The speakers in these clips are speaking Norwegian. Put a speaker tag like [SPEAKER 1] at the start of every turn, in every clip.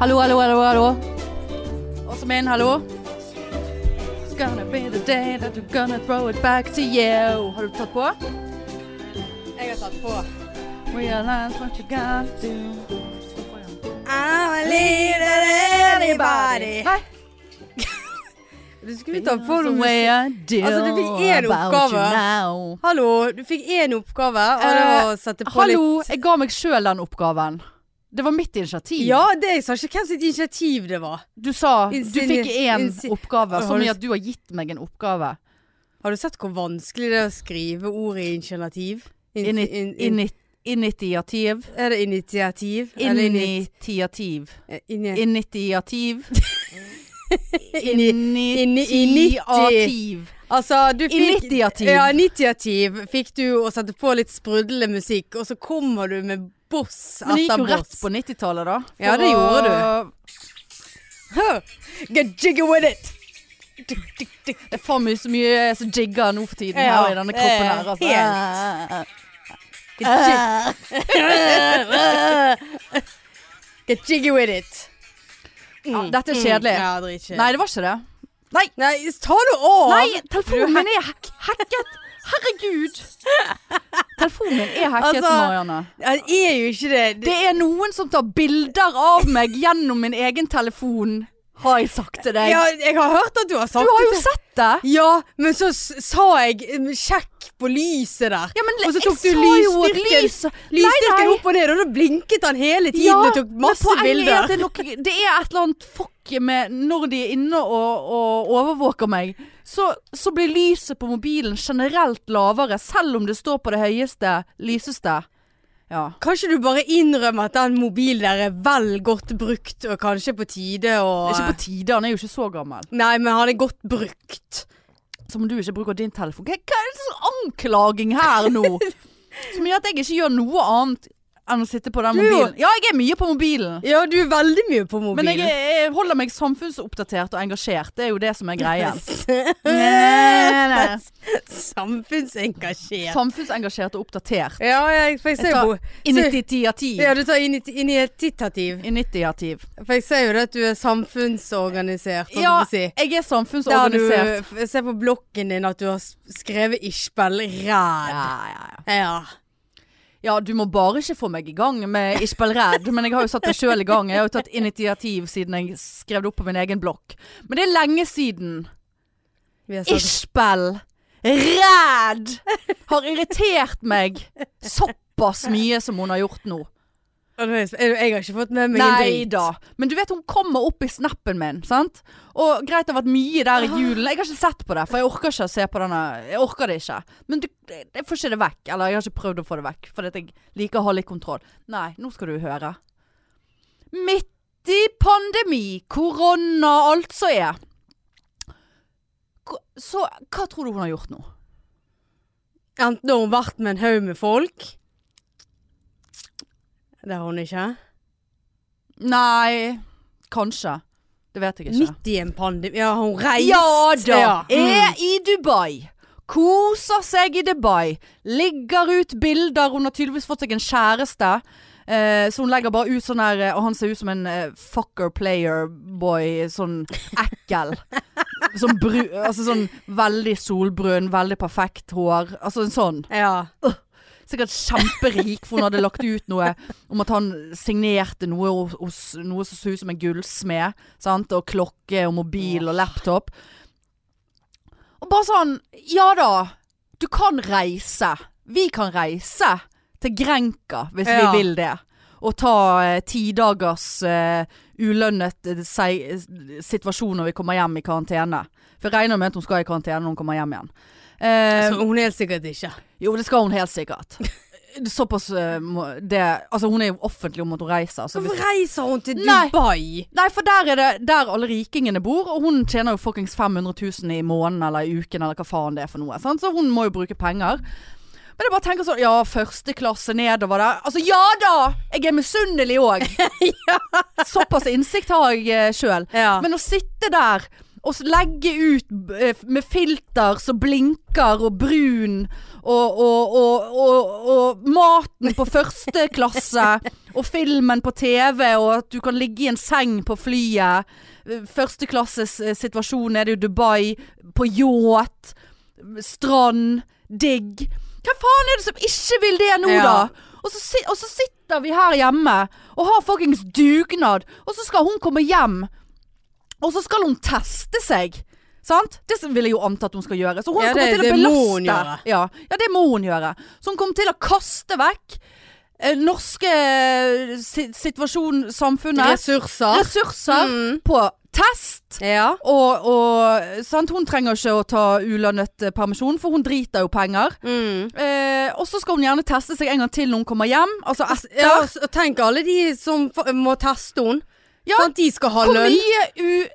[SPEAKER 1] Hallo, hallo, hallo, hallo. Også min, hallo. It's gonna be the day that you're gonna throw it back to you. Har du tatt på? Jeg har tatt på. Realize what you got to
[SPEAKER 2] I'm a leader anybody.
[SPEAKER 1] Nei,
[SPEAKER 2] Du skulle ta på
[SPEAKER 1] the
[SPEAKER 2] noe
[SPEAKER 1] way
[SPEAKER 2] musikk.
[SPEAKER 1] I do
[SPEAKER 2] Altså, du fikk én
[SPEAKER 1] about
[SPEAKER 2] oppgave.
[SPEAKER 1] you now.
[SPEAKER 2] Hallo, du fikk én oppgave, og det
[SPEAKER 1] Eh,
[SPEAKER 2] var å sette på
[SPEAKER 1] Hallo,
[SPEAKER 2] litt
[SPEAKER 1] jeg ga meg sjøl den oppgaven. Det var mitt initiativ.
[SPEAKER 2] Ja, det, jeg sa ikke hvem sitt initiativ det var.
[SPEAKER 1] Du sa du
[SPEAKER 2] Insinu-
[SPEAKER 1] fikk én
[SPEAKER 2] insi-
[SPEAKER 1] oppgave,
[SPEAKER 2] Har
[SPEAKER 1] som
[SPEAKER 2] du-
[SPEAKER 1] i at du har gitt meg en oppgave.
[SPEAKER 2] Har du sett hvor vanskelig det er å skrive ordet initiativ? In-
[SPEAKER 1] Ini-
[SPEAKER 2] in- in-
[SPEAKER 1] ini- Initiativ.
[SPEAKER 2] er det initiativ? Eller init-
[SPEAKER 1] Initiativ.
[SPEAKER 2] eh, inni-
[SPEAKER 1] Initiativ.
[SPEAKER 2] inni- inni-
[SPEAKER 1] Initiativ.
[SPEAKER 2] Altså, du fikk
[SPEAKER 1] Initiativ.
[SPEAKER 2] Ja, initiativ fikk du å sette på litt sprudlende musikk, og så kommer du med boss
[SPEAKER 1] Men det gikk
[SPEAKER 2] etter
[SPEAKER 1] jo rett
[SPEAKER 2] boss.
[SPEAKER 1] på 90-tallet, da.
[SPEAKER 2] Ja, det gjorde Huh. Get jiggy with it!
[SPEAKER 1] Det er faen meg så mye jeg som jigger nå for tiden
[SPEAKER 2] Ja,
[SPEAKER 1] her i denne kroppen her.
[SPEAKER 2] det er
[SPEAKER 1] Altså.
[SPEAKER 2] Get, jig- Get jiggy with it.
[SPEAKER 1] Mm. Ja, dette er kjedelig.
[SPEAKER 2] Ja, dritkjedelig.
[SPEAKER 1] Nei, det var ikke det.
[SPEAKER 2] Nei, ta nå av!
[SPEAKER 1] Nei, telefonen min er hack- hacket! Herregud! Telefonen min er hacket,
[SPEAKER 2] Altså,
[SPEAKER 1] Marianne.
[SPEAKER 2] Det er jo ikke det.
[SPEAKER 1] Det er noen som tar bilder av meg gjennom min egen telefon, har jeg sagt til deg.
[SPEAKER 2] ja, jeg har hørt at du har sagt
[SPEAKER 1] Du har jo
[SPEAKER 2] det.
[SPEAKER 1] sett det!
[SPEAKER 2] Ja, men så s- sa jeg mm, sjekk på lyset der.
[SPEAKER 1] Ja, men
[SPEAKER 2] og så
[SPEAKER 1] jeg
[SPEAKER 2] tok du
[SPEAKER 1] sa jo at
[SPEAKER 2] lysstyrken,
[SPEAKER 1] lyset- Nei,
[SPEAKER 2] lysstyrken
[SPEAKER 1] nei.
[SPEAKER 2] opp og ned, og da blinket han hele tiden og tok masse
[SPEAKER 1] men poenget er at
[SPEAKER 2] bilder.
[SPEAKER 1] det, er nok, det er et eller annet fuck med når de er inne og, og overvåker meg. Så, så blir lyset på mobilen generelt lavere, selv om det står på det høyeste, lyseste. Ja.
[SPEAKER 2] Kanskje du bare innrømmer at den mobilen der er vel godt brukt, og kanskje på tide å
[SPEAKER 1] Det er ikke på tide, han er jo ikke så gammel.
[SPEAKER 2] Nei, men han er godt brukt.
[SPEAKER 1] Som om du ikke bruker din telefon. Hva hva er det slags anklaging her nå? Som gjør at jeg ikke gjør noe annet enn å sitte på den
[SPEAKER 2] Du-
[SPEAKER 1] mobilen. Ja, jeg er mye på mobilen.
[SPEAKER 2] Ja, du er veldig mye på mobilen.
[SPEAKER 1] Men jeg, jeg holder meg samfunnsoppdatert og engasjert. Det er jo det som er greien.
[SPEAKER 2] Samfunnsengasjert.
[SPEAKER 1] Samfunnsengasjert og oppdatert.
[SPEAKER 2] Ja, jeg, for jeg
[SPEAKER 1] Jeg
[SPEAKER 2] ser jo
[SPEAKER 1] tar initiativ.
[SPEAKER 2] Ja, du tar init- initiativ.
[SPEAKER 1] Initiativ.
[SPEAKER 2] For jeg ser jo det at du er samfunnsorganisert. holdt jeg
[SPEAKER 1] Ja,
[SPEAKER 2] på å si.
[SPEAKER 1] jeg er
[SPEAKER 2] Der du,
[SPEAKER 1] samfunnsorganisert.
[SPEAKER 2] jeg ser på blokken din at du har s- skrevet Ishbel Ræd.
[SPEAKER 1] Ja, ja, ja.
[SPEAKER 2] Ja.
[SPEAKER 1] ja, du må bare ikke få meg i gang med Ishbel Red, men jeg har jo satt meg sjøl i gang. Jeg har jo tatt initiativ siden jeg skrev det opp på min egen blokk. Men det er lenge siden.
[SPEAKER 2] Vi har sagt
[SPEAKER 1] Ishbel Red har irritert meg såpass mye som hun har gjort nå.
[SPEAKER 2] Å, nå er Jeg sp- jeg har ikke fått med meg en
[SPEAKER 1] Nei
[SPEAKER 2] dritt.
[SPEAKER 1] da. Men du vet hun kommer opp i snappen min, sant? Og greit det har vært mye der i
[SPEAKER 2] Ah.
[SPEAKER 1] julen. Jeg har ikke sett på det, for jeg orker ikke å se på denne. Jeg orker det ikke. Men du, jeg får ikke det vekk. Eller jeg har ikke prøvd å få det vekk, fordi at jeg liker å ha litt kontroll. Nei, nå skal du høre. Midt i pandemi, korona, alt som er. Ko- Så hva tror du hun har gjort nå?
[SPEAKER 2] Enten har hun vært med en haug med folk. Det har hun ikke.
[SPEAKER 1] Nei, kanskje. Det vet jeg ikke.
[SPEAKER 2] Midt i en pandemi. Ja, har hun reist.
[SPEAKER 1] Ja da!
[SPEAKER 2] Ja. Mm.
[SPEAKER 1] Er i Dubai. Koser seg i Dubai. Ligger ut bilder. Hun har tydeligvis fått seg en kjæreste. Eh, så hun legger bare ut sånn her eh, Og han ser ut som en eh, fucker player boy. Sånn ekkel. sånn, bru, altså sånn veldig solbrun, veldig perfekt hår. Altså en sånn.
[SPEAKER 2] Ja.
[SPEAKER 1] Sikkert kjemperik, for hun hadde lagt ut noe om at han signerte noe hos- hos noe som så ut som en gullsmed. Sant? Og klokke og mobil og laptop. Og bare sånn Ja da, du kan reise. Vi kan reise til Grenka hvis
[SPEAKER 2] Ja.
[SPEAKER 1] vi vil det. Og ta eh, ti dagers eh, ulønnet eh, sei- eh, situasjon når vi kommer hjem i karantene. For jeg regner med at hun skal i karantene når hun kommer hjem igjen. Eh,
[SPEAKER 2] Så hun helt sikkert ikke.
[SPEAKER 1] jo, det skal hun helt sikkert. Såpass eh, må- det Altså, hun er jo offentlig om at hun reiser. Så hvis,
[SPEAKER 2] Hvorfor reiser hun til
[SPEAKER 1] Nei.
[SPEAKER 2] Dubai?
[SPEAKER 1] nei, for der er det der alle rikingene bor, og hun tjener jo fuckings 500 000 i måneden eller i uken eller hva faen det er for noe. Sant? Så hun må jo bruke penger. Men jeg bare tenker sånn Ja, første klasse nedover der. Altså ja da! Jeg er misunnelig òg. Såpass innsikt har jeg uh, sjøl.
[SPEAKER 2] Ja.
[SPEAKER 1] Men å sitte der og s- legge ut b- eh, med filter som blinker og brun, og, og, og, og, og maten på første klasse, og filmen på TV, og at du kan ligge i en seng på flyet. Førsteklasses eh, situasjon er det jo Dubai, på yacht, strand, digg. Hvem faen er det som ikke vil det nå,
[SPEAKER 2] Ja.
[SPEAKER 1] da? Og så, si- og så sitter vi her hjemme og har fuckings dugnad, og så skal hun komme hjem, og så skal hun teste seg. Sant? Det som vil jeg jo anta at hun skal gjøre. Så hun
[SPEAKER 2] Ja,
[SPEAKER 1] kommer
[SPEAKER 2] det-
[SPEAKER 1] til å
[SPEAKER 2] det
[SPEAKER 1] belaste.
[SPEAKER 2] må hun gjøre.
[SPEAKER 1] Ja, ja, det må hun gjøre. Så hun kommer til å kaste vekk eh, norske eh, si situasjon, samfunnet,
[SPEAKER 2] Ressurser.
[SPEAKER 1] ressurser
[SPEAKER 2] Mm.
[SPEAKER 1] på test.
[SPEAKER 2] Ja.
[SPEAKER 1] Og, og sant? hun trenger ikke å ta ulønnet eh, permisjon, for hun driter jo penger.
[SPEAKER 2] Mm.
[SPEAKER 1] Eh, og så skal hun gjerne teste seg en gang til når hun kommer hjem. Altså etter.
[SPEAKER 2] Ja, og s- og tenk alle de som fa- må teste henne.
[SPEAKER 1] Ja.
[SPEAKER 2] Sånn at de skal ha
[SPEAKER 1] Hvor
[SPEAKER 2] lønn.
[SPEAKER 1] mye u...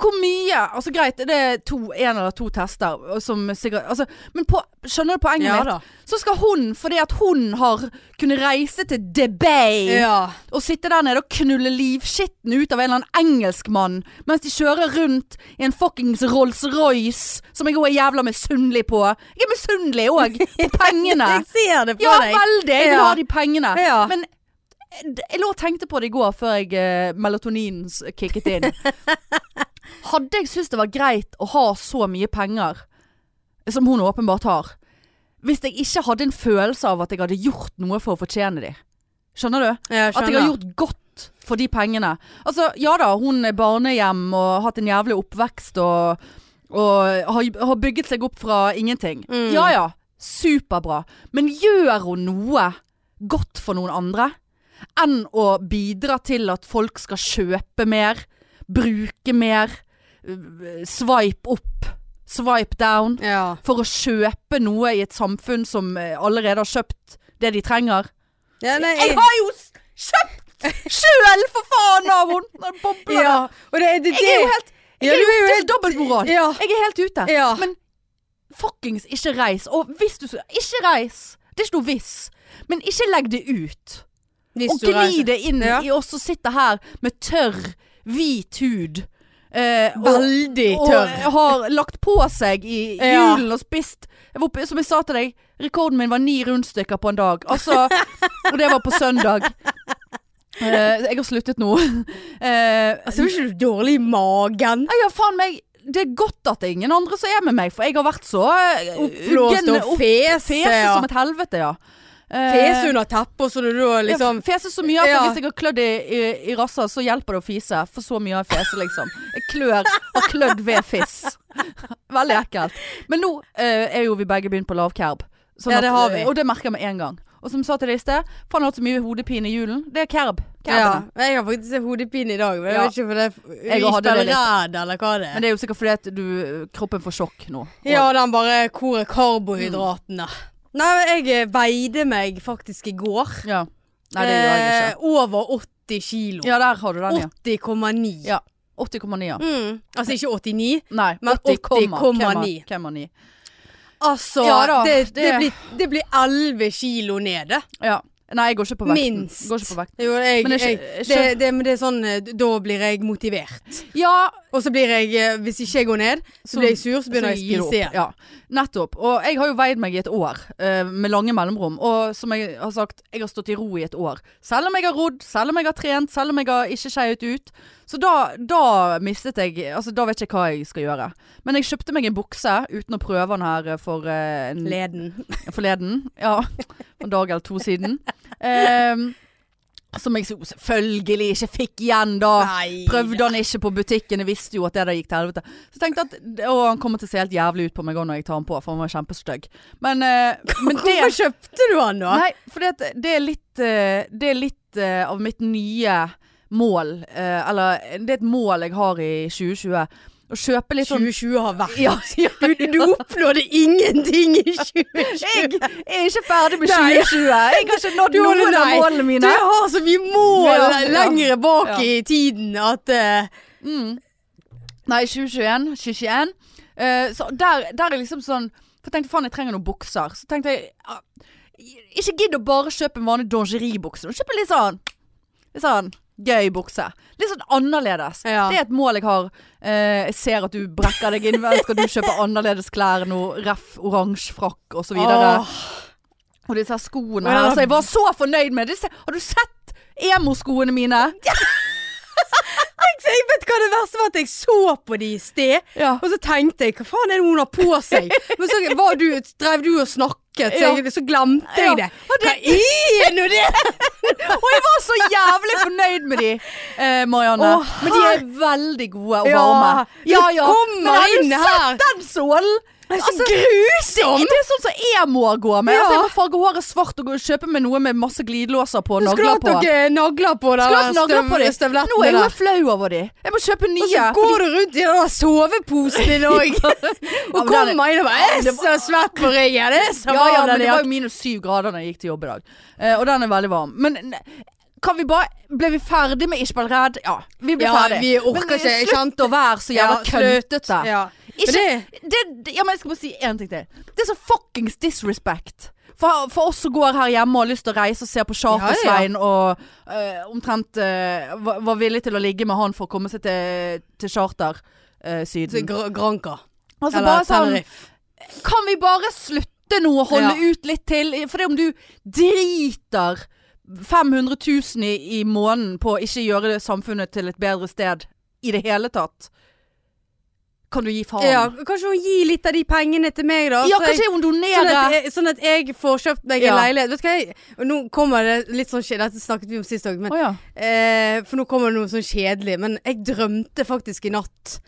[SPEAKER 1] Hvor mye Altså greit, det er to, en eller to tester og som sikkert altså, Men på, skjønner du poenget
[SPEAKER 2] Ja
[SPEAKER 1] mitt?
[SPEAKER 2] da.
[SPEAKER 1] Så skal hun, fordi at hun har kunnet reise til Debay
[SPEAKER 2] Ja.
[SPEAKER 1] og sitte der nede og knulle livskitten ut av en eller annen engelskmann mens de kjører rundt i en fuckings Rolls-Royce, som jeg òg er jævla misunnelig på. Jeg er misunnelig òg, på pengene.
[SPEAKER 2] Jeg ser det på
[SPEAKER 1] Ja,
[SPEAKER 2] deg.
[SPEAKER 1] veldig! Jeg vil
[SPEAKER 2] Ja.
[SPEAKER 1] ha de pengene.
[SPEAKER 2] Ja.
[SPEAKER 1] Men eh, d- jeg lå og tenkte på det i går før jeg eh, melatoninen s- kicket inn. Hadde jeg syntes det var greit å ha så mye penger, som hun åpenbart har, hvis jeg ikke hadde en følelse av at jeg hadde gjort noe for å fortjene de. Skjønner du?
[SPEAKER 2] Jeg
[SPEAKER 1] At jeg har gjort godt for de pengene. Altså, ja da, hun er barnehjem og har hatt en jævlig oppvekst og, og har, har bygget seg opp fra ingenting.
[SPEAKER 2] Mm.
[SPEAKER 1] Ja ja, superbra. Men gjør hun noe godt for noen andre enn å bidra til at folk skal kjøpe mer, bruke mer, øh, swipe opp, swipe down?
[SPEAKER 2] Ja.
[SPEAKER 1] For å kjøpe noe i et samfunn som eh, allerede har kjøpt det de trenger.
[SPEAKER 2] ja nei,
[SPEAKER 1] Jeg har jo s- kjøpt sjøl, for faen, av henne!
[SPEAKER 2] ja. Og det, det, det,
[SPEAKER 1] Jeg er jo helt
[SPEAKER 2] Ja,
[SPEAKER 1] Jeg er
[SPEAKER 2] du
[SPEAKER 1] jo
[SPEAKER 2] er jo
[SPEAKER 1] helt
[SPEAKER 2] helt-
[SPEAKER 1] dobbeltmoral.
[SPEAKER 2] Ja.
[SPEAKER 1] Jeg er helt ute.
[SPEAKER 2] Ja.
[SPEAKER 1] Men fuckings ikke reis. Og hvis du så- Ikke reis! Det er ikke noe hvis. Men ikke legg det ut.
[SPEAKER 2] Hvis
[SPEAKER 1] Og
[SPEAKER 2] du
[SPEAKER 1] gni
[SPEAKER 2] reiser.
[SPEAKER 1] det inn
[SPEAKER 2] Ja.
[SPEAKER 1] i oss som sitter her med tørr, hvit hud. eh, og,
[SPEAKER 2] Veldig
[SPEAKER 1] og
[SPEAKER 2] tørr.
[SPEAKER 1] har lagt på seg i
[SPEAKER 2] Ja.
[SPEAKER 1] julen og spist jeg var oppe, Som jeg sa til deg, rekorden min var ni rundstykker på en dag. Altså, og det var på søndag. Eh, jeg har sluttet nå. Eh,
[SPEAKER 2] Altså, var ikke du dårlig i magen?
[SPEAKER 1] jeg har faen meg Det er godt at det er ingen andre som er med meg, for jeg har vært så eh,
[SPEAKER 2] Oppblåst
[SPEAKER 1] uggen-
[SPEAKER 2] og fes.
[SPEAKER 1] fese
[SPEAKER 2] ja.
[SPEAKER 1] som et helvete, ja. Eh,
[SPEAKER 2] Fes under teppet, og så du da liksom
[SPEAKER 1] jeg feser så mye at
[SPEAKER 2] Ja.
[SPEAKER 1] hvis jeg har klødd i, i, i rassa, så hjelper det å fise. For så mye har jeg fese, liksom. Jeg klør og klødd ved fiss. Veldig ekkelt. Men nå eh, er jo vi begge begynt på lavkerb. Sånn
[SPEAKER 2] Ja, det har vi.
[SPEAKER 1] Og det merker jeg med en gang. Og som jeg sa til deg i sted, faen jeg har hatt så mye hodepine i julen. Det er kerb.
[SPEAKER 2] ja.
[SPEAKER 1] Kerbene.
[SPEAKER 2] Jeg har faktisk hodepine i dag. Men jeg
[SPEAKER 1] Ja.
[SPEAKER 2] vet ikke om det er
[SPEAKER 1] Jeg hadde det litt.
[SPEAKER 2] redd, eller hva det
[SPEAKER 1] Men
[SPEAKER 2] er.
[SPEAKER 1] det er jo sikkert fordi at du, kroppen får sjokk nå. Og-
[SPEAKER 2] Ja, den bare Hvor er karbohydratene?
[SPEAKER 1] Mm.
[SPEAKER 2] Nei, men jeg eh, veide meg faktisk i går.
[SPEAKER 1] ja. Nei, det gjør jeg ikke.
[SPEAKER 2] Eh, over 80 kilo.
[SPEAKER 1] Ja, der har du den, ja.
[SPEAKER 2] 80,9.
[SPEAKER 1] ja. 80,9 ja.
[SPEAKER 2] Mm. Altså ikke 89.
[SPEAKER 1] Nei,
[SPEAKER 2] Men
[SPEAKER 1] 80,9.
[SPEAKER 2] 80,9. Altså,
[SPEAKER 1] Ja da,
[SPEAKER 2] det, det,
[SPEAKER 1] det-
[SPEAKER 2] blir, det blir 11 kilo ned, det.
[SPEAKER 1] Ja. Nei, jeg går ikke på vekten.
[SPEAKER 2] Minst.
[SPEAKER 1] Går ikke på vekten.
[SPEAKER 2] Jo, jeg,
[SPEAKER 1] Men jeg skjø-
[SPEAKER 2] jeg, det, det, men det er sånn eh, Da blir jeg motivert.
[SPEAKER 1] Ja,
[SPEAKER 2] Og så blir jeg eh, Hvis ikke jeg går ned, så
[SPEAKER 1] Så-
[SPEAKER 2] blir jeg sur, så begynner jeg å
[SPEAKER 1] Så gir du
[SPEAKER 2] spise
[SPEAKER 1] opp.
[SPEAKER 2] igjen.
[SPEAKER 1] Ja, nettopp. Og jeg har jo veid meg i et år eh, med lange mellomrom. Og som jeg har sagt, jeg har stått i ro i et år. Selv om jeg har rodd, selv om jeg har trent, selv om jeg har ikke skeiet ut. Så da, da mistet jeg Altså, da vet jeg ikke hva jeg skal gjøre. Men jeg kjøpte meg en bukse uten å prøve den her eh, for eh, en
[SPEAKER 2] Leden.
[SPEAKER 1] forleden. Ja, en dag eller to siden. Ehm, som jeg jo selvfølgelig ikke fikk igjen da.
[SPEAKER 2] Nei.
[SPEAKER 1] Prøvde han ikke på butikken, jeg visste jo at det der gikk til helvete. Så tenkte jeg at å, han kommer til å se helt jævlig ut på meg også når jeg tar han på, for han var kjempestygg. Men, eh, men
[SPEAKER 2] Hvorfor
[SPEAKER 1] det
[SPEAKER 2] kjøpte du han da?
[SPEAKER 1] Nei, for det, det er litt, eh, det er litt eh, av mitt nye mål. eh, eller det er et mål jeg har i 2020. Å kjøpe litt sånn
[SPEAKER 2] 2020 har vært
[SPEAKER 1] Ja, ja,
[SPEAKER 2] Du, du oppnådde ingenting i 2020.
[SPEAKER 1] Jeg er ikke ferdig med
[SPEAKER 2] Nei.
[SPEAKER 1] 2020. Jeg har ikke nådd
[SPEAKER 2] Du har
[SPEAKER 1] noen av
[SPEAKER 2] nei.
[SPEAKER 1] målene
[SPEAKER 2] Du
[SPEAKER 1] mine.
[SPEAKER 2] har så mye mål
[SPEAKER 1] Ja, ja.
[SPEAKER 2] lengre bak
[SPEAKER 1] Ja.
[SPEAKER 2] i tiden at eh,
[SPEAKER 1] Nei, 2021. 2021. Eh, så der, der er liksom sånn For jeg tenkte faen, jeg trenger noen bukser. Så tenkte jeg ah, Ikke gidd å bare kjøpe en vanlig dongeribukse. Kjøp en litt sånn Litt sånn gøy bukse. Litt sånn annerledes.
[SPEAKER 2] Ja.
[SPEAKER 1] Det er et mål jeg har. Eh, jeg ser at du brekker deg inn. Vel, Skal du kjøpe annerledes klær nå? Ref oransje frakk og så videre.
[SPEAKER 2] åh.
[SPEAKER 1] Og disse her skoene
[SPEAKER 2] Ja,
[SPEAKER 1] her.
[SPEAKER 2] da-
[SPEAKER 1] Altså, jeg var så fornøyd med disse. Har du sett? Emoskoene mine.
[SPEAKER 2] Jeg vet hva det verste var, at jeg så på de i sted,
[SPEAKER 1] Ja.
[SPEAKER 2] og så tenkte jeg hva faen er det hun har på seg? Men så var du, drev du og snakket, så,
[SPEAKER 1] Ja.
[SPEAKER 2] jeg, så glemte jeg det.
[SPEAKER 1] Ja. Og det-
[SPEAKER 2] Hva er nå det?
[SPEAKER 1] Og jeg var så jævlig fornøyd med de, eh, Marianne.
[SPEAKER 2] Å,
[SPEAKER 1] Men de er veldig gode og
[SPEAKER 2] Ja.
[SPEAKER 1] varme.
[SPEAKER 2] Du kommer
[SPEAKER 1] Men har
[SPEAKER 2] inn
[SPEAKER 1] du
[SPEAKER 2] her.
[SPEAKER 1] sett den sålen?
[SPEAKER 2] Det er så
[SPEAKER 1] Altså,
[SPEAKER 2] grusom!
[SPEAKER 1] Det er sånn som jeg må gå med.
[SPEAKER 2] Ja.
[SPEAKER 1] Altså, jeg må farge håret svart og gå og kjøpe meg noe med masse glidelåser på og
[SPEAKER 2] Skulle
[SPEAKER 1] nagler
[SPEAKER 2] hatt
[SPEAKER 1] på.
[SPEAKER 2] dere nagler på
[SPEAKER 1] Skulle hatt
[SPEAKER 2] der
[SPEAKER 1] nagler på de. Nå er
[SPEAKER 2] støvlettene
[SPEAKER 1] jeg jo
[SPEAKER 2] der.
[SPEAKER 1] flau over de. Jeg må kjøpe nye.
[SPEAKER 2] Og så går du rundt i den der soveposen din òg. Og
[SPEAKER 1] men den er-
[SPEAKER 2] kommer inn og bare «Jeg er Så svett på ryggen! Det er
[SPEAKER 1] ja,
[SPEAKER 2] så
[SPEAKER 1] ja,
[SPEAKER 2] varm
[SPEAKER 1] men
[SPEAKER 2] den
[SPEAKER 1] det var jo
[SPEAKER 2] jakken.
[SPEAKER 1] minus syv grader da jeg gikk til jobb i dag. Eh, og den er veldig varm. Men ne, kan vi bare Ble vi ferdig med Ikke bli redd? Ja, vi ble
[SPEAKER 2] Ja,
[SPEAKER 1] ferdig.
[SPEAKER 2] vi orker
[SPEAKER 1] men,
[SPEAKER 2] ikke, jeg
[SPEAKER 1] Slutt å være så jævla
[SPEAKER 2] eh, Ja, slutt.
[SPEAKER 1] køntete.
[SPEAKER 2] Ja. Men
[SPEAKER 1] Ikke,
[SPEAKER 2] det-
[SPEAKER 1] det, det, ja, men jeg skal bare si én ting til. Det er så fuckings disrespect. For, for oss som går her hjemme og har lyst til å reise og se på Charter-Svein og eh, omtrent eh, var, var villig til å ligge med han for å komme seg til, til eh,
[SPEAKER 2] Så
[SPEAKER 1] Charter-Syden.
[SPEAKER 2] Gra- Granca.
[SPEAKER 1] altså
[SPEAKER 2] Eller
[SPEAKER 1] bare sånn
[SPEAKER 2] Tenerife.
[SPEAKER 1] kan vi bare slutte nå å holde
[SPEAKER 2] Ja.
[SPEAKER 1] ut litt til? For det om du driter 500 000 i, i måneden på å ikke gjøre det samfunnet til et bedre sted i det hele tatt, kan du gi faen?
[SPEAKER 2] Ja, kanskje hun gir litt av de pengene til meg, da.
[SPEAKER 1] Ja,
[SPEAKER 2] så jeg-
[SPEAKER 1] kanskje hun
[SPEAKER 2] Sånn
[SPEAKER 1] donerer.
[SPEAKER 2] at, jeg, sånn at jeg får kjøpt meg en
[SPEAKER 1] Ja.
[SPEAKER 2] leilighet. Vet du hva, jeg, og nå kommer det litt sånn kjedelig Dette snakket vi om sist òg, men
[SPEAKER 1] Å ja.
[SPEAKER 2] eh, For nå kommer det noe sånn kjedelig. Men jeg drømte faktisk i natt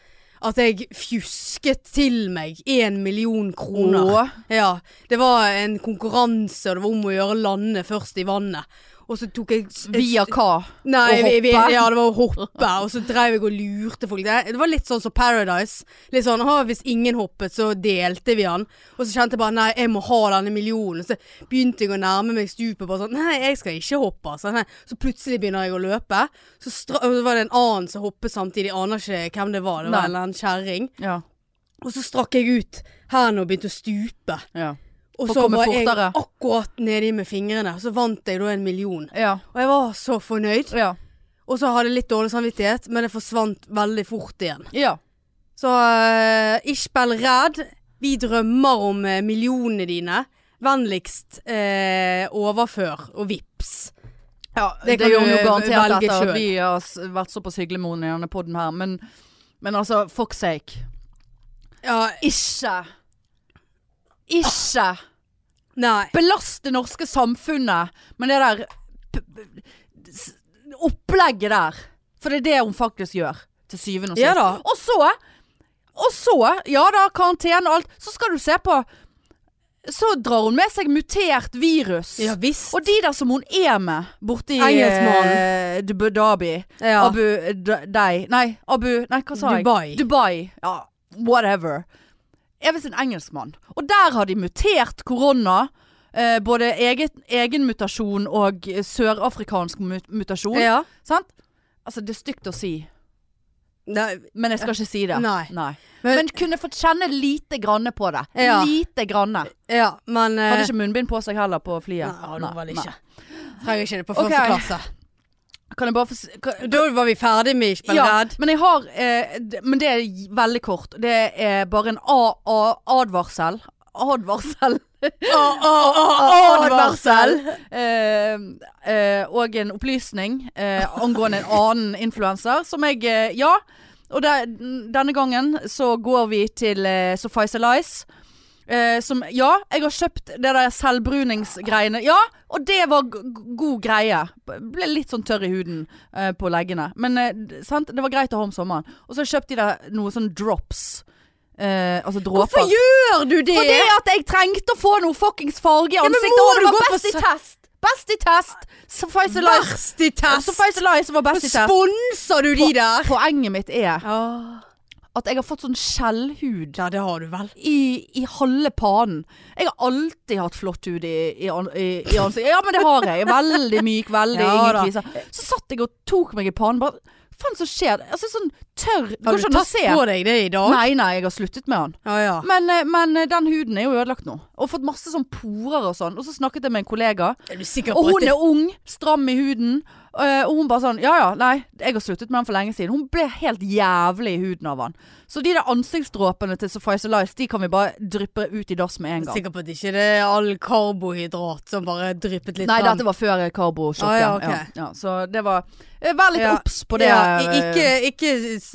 [SPEAKER 2] at jeg fjusket til meg én million kroner.
[SPEAKER 1] Å.
[SPEAKER 2] Ja, det var en konkurranse, og det var om å gjøre lande først i vannet. Og så tok jeg s-
[SPEAKER 1] Via hva?
[SPEAKER 2] Nei,
[SPEAKER 1] å
[SPEAKER 2] vi, vi,
[SPEAKER 1] hoppe?
[SPEAKER 2] ja, det var å hoppe, og så drev jeg og lurte folk. Det, det var litt sånn som Paradise. Litt sånn, «Å, Hvis ingen hoppet, så delte vi han. Og så kjente jeg bare nei, jeg må ha denne millionen. Så begynte jeg å nærme meg stupet. Bare sånn, nei, jeg skal ikke hoppe. altså. Nei. Så plutselig begynner jeg å løpe. Så, stra og så var det en annen som hoppet samtidig. Jeg aner ikke hvem det var. Det
[SPEAKER 1] Nei.
[SPEAKER 2] var en eller annen kjerring.
[SPEAKER 1] Ja.
[SPEAKER 2] Og så strakk jeg ut hendene og begynte å stupe.
[SPEAKER 1] Ja.
[SPEAKER 2] Og
[SPEAKER 1] For å
[SPEAKER 2] så
[SPEAKER 1] komme
[SPEAKER 2] var
[SPEAKER 1] fortere.
[SPEAKER 2] jeg akkurat nedi med fingrene, og så vant jeg da en million.
[SPEAKER 1] ja.
[SPEAKER 2] Og jeg var så fornøyd.
[SPEAKER 1] ja.
[SPEAKER 2] Og så hadde jeg litt dårlig samvittighet, men det forsvant veldig fort igjen.
[SPEAKER 1] ja.
[SPEAKER 2] Så uh, ikke spill redd. Vi drømmer om eh, millionene dine. Vennligst eh, overfør og vips.
[SPEAKER 1] det,
[SPEAKER 2] det kan
[SPEAKER 1] gjør hun
[SPEAKER 2] du
[SPEAKER 1] jo garantert
[SPEAKER 2] velge
[SPEAKER 1] etter
[SPEAKER 2] selv.
[SPEAKER 1] at vi har s- vært såpass hyggelige med henne i denne podden her, men, men altså, fuck sake.
[SPEAKER 2] Ja,
[SPEAKER 1] Ikke. Ikke.
[SPEAKER 2] nei.
[SPEAKER 1] belast det norske samfunnet med det der p- p- s- opplegget der. For det er det hun faktisk gjør, til syvende og sist.
[SPEAKER 2] Ja da.
[SPEAKER 1] Og så, og så, ja da, karantene og alt, så skal du se på Så drar hun med seg mutert virus.
[SPEAKER 2] Ja visst.
[SPEAKER 1] Og de der som hun er med borte i
[SPEAKER 2] Engelskmannen.
[SPEAKER 1] eh, Abu Dhabi
[SPEAKER 2] ja.
[SPEAKER 1] Abu eh, D- Dei Nei, Abu Nei, hva sa jeg?
[SPEAKER 2] Dubai.
[SPEAKER 1] Dubai. Ja, whatever. Er visst en engelskmann. Og der har de mutert korona. Eh, både eget, egen mutasjon og eh, sørafrikansk mut mutasjon.
[SPEAKER 2] ja.
[SPEAKER 1] Sant? Altså, det er stygt å si,
[SPEAKER 2] Nei.
[SPEAKER 1] men jeg skal ikke si det.
[SPEAKER 2] Nei.
[SPEAKER 1] Men,
[SPEAKER 2] Men-
[SPEAKER 1] kunne fått kjenne lite granne på det.
[SPEAKER 2] Ja.
[SPEAKER 1] Lite granne.
[SPEAKER 2] ja, men eh,
[SPEAKER 1] Hadde ikke munnbind på seg heller på
[SPEAKER 2] Nei,
[SPEAKER 1] flyet.
[SPEAKER 2] ja, det var vel
[SPEAKER 1] Nei.
[SPEAKER 2] ikke. Trenger ikke det på
[SPEAKER 1] Ok.
[SPEAKER 2] første klasse.
[SPEAKER 1] Kan jeg bare få s- kan-
[SPEAKER 2] Da var vi ferdig med Ikke bli
[SPEAKER 1] Ja,
[SPEAKER 2] redd.
[SPEAKER 1] men jeg har eh, d- Men det er j- veldig kort. Det er bare en a- a- advarsel. Advarsel.
[SPEAKER 2] Advarsel!
[SPEAKER 1] Eh, eh, og en opplysning eh, angående en annen influenser som jeg eh, Ja. Og det, denne gangen så går vi til eh, Suffice Alice. Eh, som Ja, jeg har kjøpt det der selvbruningsgreiene. Ja, og det var g g- god greie. B- Ble litt sånn tørr i huden eh, på leggene. Men eh, d- sant? det var greit å ha om sommeren. Og så har jeg kjøpt de der noen sånn drops. Eh, altså dråper.
[SPEAKER 2] Hvorfor gjør du det?
[SPEAKER 1] Fordi at jeg trengte å få noe fuckings farge i
[SPEAKER 2] men
[SPEAKER 1] ansiktet.
[SPEAKER 2] må
[SPEAKER 1] og det
[SPEAKER 2] du
[SPEAKER 1] var
[SPEAKER 2] gå på
[SPEAKER 1] best i
[SPEAKER 2] s-
[SPEAKER 1] test! Best i test! Suffice Lies.
[SPEAKER 2] Verst i test!
[SPEAKER 1] Suffice Lies var best i test.
[SPEAKER 2] Sponser du de der?
[SPEAKER 1] Poenget mitt er
[SPEAKER 2] Ja.
[SPEAKER 1] at jeg har fått sånn skjellhud
[SPEAKER 2] det har du vel.
[SPEAKER 1] i, i halve panen. Jeg har alltid hatt flott hud i, i, an- i, i ansiktet. Ja, men det har jeg. Veldig myk, veldig
[SPEAKER 2] Ja da.
[SPEAKER 1] ingen kviser. Så satt jeg og tok meg i panen. Bare, faen som skjer? Altså sånn tørr. Det
[SPEAKER 2] Har
[SPEAKER 1] går
[SPEAKER 2] du
[SPEAKER 1] ikke an å
[SPEAKER 2] tatt
[SPEAKER 1] se.
[SPEAKER 2] på deg det i dag?
[SPEAKER 1] Nei, nei, jeg har sluttet med han.
[SPEAKER 2] Ja, ja.
[SPEAKER 1] Men, eh, men eh, den huden er jo ødelagt nå. Og fått masse sånn porer og sånn. Og så snakket jeg med en kollega,
[SPEAKER 2] Er du sikker
[SPEAKER 1] og
[SPEAKER 2] på at
[SPEAKER 1] hun
[SPEAKER 2] det
[SPEAKER 1] er ung, stram i huden. Eh, og hun bare sånn Ja ja, nei, jeg har sluttet med den for lenge siden. Hun ble helt jævlig i huden av han. Så de der ansiktsdråpene til Suffice Alice, de kan vi bare dryppe ut i dass med en gang.
[SPEAKER 2] Sikker på at ikke det er all karbohydrat som bare dryppet litt sånn-
[SPEAKER 1] Nei,
[SPEAKER 2] fram.
[SPEAKER 1] dette var før eh, karbosjokket.
[SPEAKER 2] Ah, ja, ok.
[SPEAKER 1] ja, ja. Så det var eh, Vær litt
[SPEAKER 2] Ja.
[SPEAKER 1] obs på det.
[SPEAKER 2] Ja,
[SPEAKER 1] eh,
[SPEAKER 2] i- ikke, ikke, s-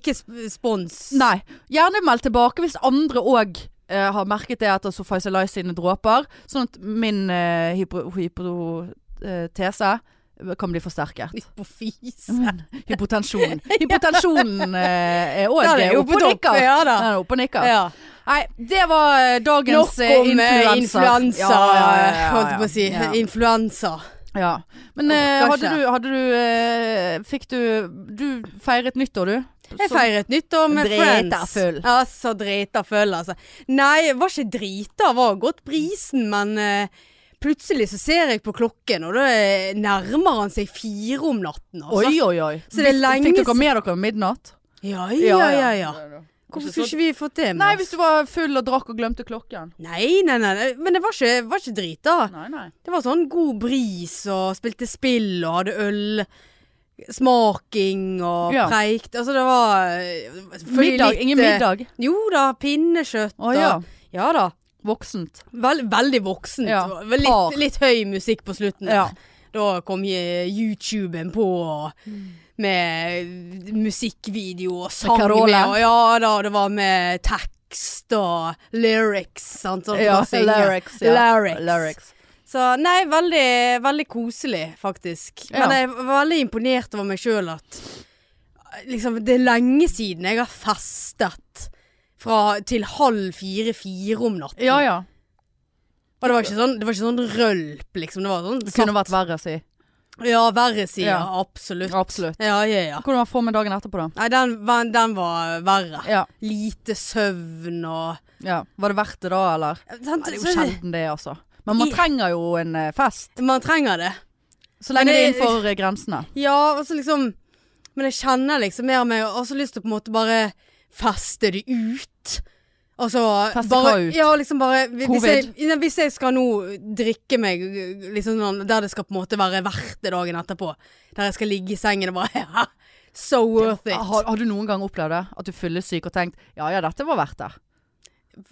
[SPEAKER 2] ikke sp- spons.
[SPEAKER 1] Nei. Gjerne meld tilbake hvis andre òg eh, har merket det etter Suffice Alice sine dråper. Sånn at min eh, hypo, hypotese kan bli forsterket.
[SPEAKER 2] På fis.
[SPEAKER 1] Men hypotensjonen Hypotensjonen eh, er
[SPEAKER 2] Den
[SPEAKER 1] òg
[SPEAKER 2] er jo
[SPEAKER 1] oppe
[SPEAKER 2] på
[SPEAKER 1] og
[SPEAKER 2] topp.
[SPEAKER 1] nikker.
[SPEAKER 2] Ja da.
[SPEAKER 1] Den er oppe og nikker.
[SPEAKER 2] Ja.
[SPEAKER 1] Nei, det var eh, dagens
[SPEAKER 2] Nok
[SPEAKER 1] eh,
[SPEAKER 2] om eh, influensa, holdt jeg på å si.
[SPEAKER 1] Ja.
[SPEAKER 2] Influensa.
[SPEAKER 1] ja. Men eh,
[SPEAKER 2] Orker
[SPEAKER 1] hadde
[SPEAKER 2] ikke.
[SPEAKER 1] du, hadde du eh, Fikk du Du feiret nyttår, du?
[SPEAKER 2] Jeg
[SPEAKER 1] Så-
[SPEAKER 2] feiret nyttår med
[SPEAKER 1] Drita
[SPEAKER 2] friends.
[SPEAKER 1] full.
[SPEAKER 2] Ja, så drita full, altså. Nei, jeg var ikke drita, jeg var godt brisen, men eh, plutselig så ser jeg på klokken, og da eh, nærmer han seg fire om natten, altså.
[SPEAKER 1] Oi, oi, oi.
[SPEAKER 2] Så det er
[SPEAKER 1] Visst-
[SPEAKER 2] lenge
[SPEAKER 1] Fikk dere
[SPEAKER 2] siden-
[SPEAKER 1] med dere midnatt?
[SPEAKER 2] Ja, ja, ja, ja. Hvorfor
[SPEAKER 1] Ikke
[SPEAKER 2] skulle
[SPEAKER 1] så-
[SPEAKER 2] ikke vi fått det med
[SPEAKER 1] Nei,
[SPEAKER 2] oss?
[SPEAKER 1] hvis du var full og drakk og glemte klokken.
[SPEAKER 2] Nei, nei, nei, nei, men det var ikke, var ikke drita.
[SPEAKER 1] Nei, nei.
[SPEAKER 2] Det var sånn god bris og spilte spill og hadde øl. Smaking og
[SPEAKER 1] Ja.
[SPEAKER 2] preik. Altså det var eh, selvfølgelig
[SPEAKER 1] Middag,
[SPEAKER 2] litt,
[SPEAKER 1] ingen
[SPEAKER 2] eh,
[SPEAKER 1] middag.
[SPEAKER 2] Jo da, pinnekjøtt
[SPEAKER 1] Å ja.
[SPEAKER 2] og Ja da.
[SPEAKER 1] Voksent.
[SPEAKER 2] Vel, veldig voksent.
[SPEAKER 1] Ja.
[SPEAKER 2] og
[SPEAKER 1] Par.
[SPEAKER 2] Litt, litt høy musikk på slutten. der.
[SPEAKER 1] Ja.
[SPEAKER 2] Da kom je- YouTuben på og-
[SPEAKER 1] Mm.
[SPEAKER 2] med musikkvideo og sang.
[SPEAKER 1] Carola.
[SPEAKER 2] med, og ja da, det var med tekst og lyrics. Sant, sånn at man synger.
[SPEAKER 1] lyrics, ja.
[SPEAKER 2] Lyrics.
[SPEAKER 1] Lyrics.
[SPEAKER 2] Så nei, veldig, veldig koselig faktisk.
[SPEAKER 1] Ja.
[SPEAKER 2] Men jeg var veldig imponert over meg sjøl at liksom, det er lenge siden jeg har festet fra til halv fire-fire om natten.
[SPEAKER 1] Ja ja.
[SPEAKER 2] Og det var ikke sånn, det var ikke sånn rølp, liksom. Det var sånn
[SPEAKER 1] Det kunne vært verre, si.
[SPEAKER 2] satt- Ja, verre sider.
[SPEAKER 1] Ja.
[SPEAKER 2] Absolutt.
[SPEAKER 1] Absolutt.
[SPEAKER 2] Ja, ja, ja.
[SPEAKER 1] Hvordan var formen dagen etterpå, da?
[SPEAKER 2] Nei, den, var- den var verre.
[SPEAKER 1] Ja.
[SPEAKER 2] Lite søvn og
[SPEAKER 1] ja. Var det verdt det da, eller?
[SPEAKER 2] Sant,
[SPEAKER 1] Ja, det er jo
[SPEAKER 2] så-
[SPEAKER 1] sjelden det, altså. Men man
[SPEAKER 2] I-
[SPEAKER 1] trenger jo en eh, fest.
[SPEAKER 2] Man trenger det.
[SPEAKER 1] Så lenge
[SPEAKER 2] Men
[SPEAKER 1] det er
[SPEAKER 2] det-
[SPEAKER 1] innenfor eh, grensene.
[SPEAKER 2] Ja, og så liksom Men jeg kjenner liksom mer og mer Jeg har også lyst til å på en måte bare feste det ut. Altså
[SPEAKER 1] Feste
[SPEAKER 2] bare,
[SPEAKER 1] hva ut?
[SPEAKER 2] Ja, liksom bare hvis- hvis jeg,
[SPEAKER 1] Covid?
[SPEAKER 2] nei, hvis jeg skal nå drikke meg liksom sånn der det skal på en måte være verdt det dagen etterpå, der jeg skal ligge i sengen og bare ja, So worth it.
[SPEAKER 1] Har, har du noen gang opplevd det? At du fyllesyk og tenkt ja ja, dette var verdt det.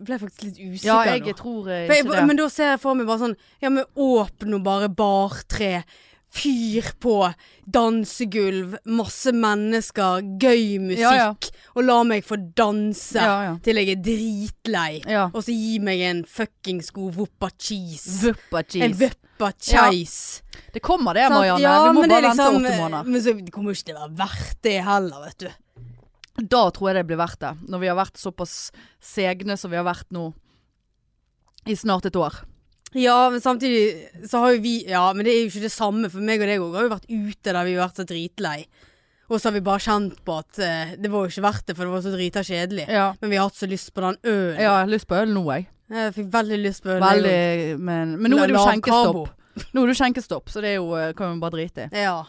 [SPEAKER 2] ble faktisk litt usikker
[SPEAKER 1] Ja, jeg
[SPEAKER 2] nå.
[SPEAKER 1] tror eh,
[SPEAKER 2] For jeg,
[SPEAKER 1] ikke det.
[SPEAKER 2] men da ser jeg for meg bare sånn Ja, men åpne og bare bartre. Fyr på. Dansegulv. Masse mennesker. Gøy musikk.
[SPEAKER 1] Ja, ja.
[SPEAKER 2] Og la meg få danse
[SPEAKER 1] Ja, ja.
[SPEAKER 2] til jeg er dritlei.
[SPEAKER 1] Ja.
[SPEAKER 2] Og så gi meg en fuckings god woppa cheese.
[SPEAKER 1] Vuppa
[SPEAKER 2] En
[SPEAKER 1] cheese.
[SPEAKER 2] woppa cheese.
[SPEAKER 1] Det kommer det,
[SPEAKER 2] Sant?
[SPEAKER 1] Marianne. vi må
[SPEAKER 2] men det
[SPEAKER 1] bare
[SPEAKER 2] er
[SPEAKER 1] vente
[SPEAKER 2] liksom-
[SPEAKER 1] åtte måneder.
[SPEAKER 2] Men så kommer ikke det være verdt det heller, vet du.
[SPEAKER 1] eh, Da tror jeg det blir verdt det. Når vi har vært såpass segne som vi har vært nå i snart et år.
[SPEAKER 2] Ja, men samtidig så har jo vi Ja, men det er jo ikke det samme, for meg og deg òg har jo vært ute der vi har vært så dritlei. Og så har vi bare kjent på at eh, det var jo ikke verdt det, for det var så drita kjedelig.
[SPEAKER 1] Ja.
[SPEAKER 2] Men vi har hatt så lyst på den ølen.
[SPEAKER 1] Jeg har lyst på øl nå, jeg.
[SPEAKER 2] Jeg fikk veldig lyst på øl.
[SPEAKER 1] Veldig, men, men nå er det jo
[SPEAKER 2] Lav
[SPEAKER 1] skjenkestopp. Nå er det jo skjenkestopp, så det er jo, eh, kan vi bare drite i.
[SPEAKER 2] Ja.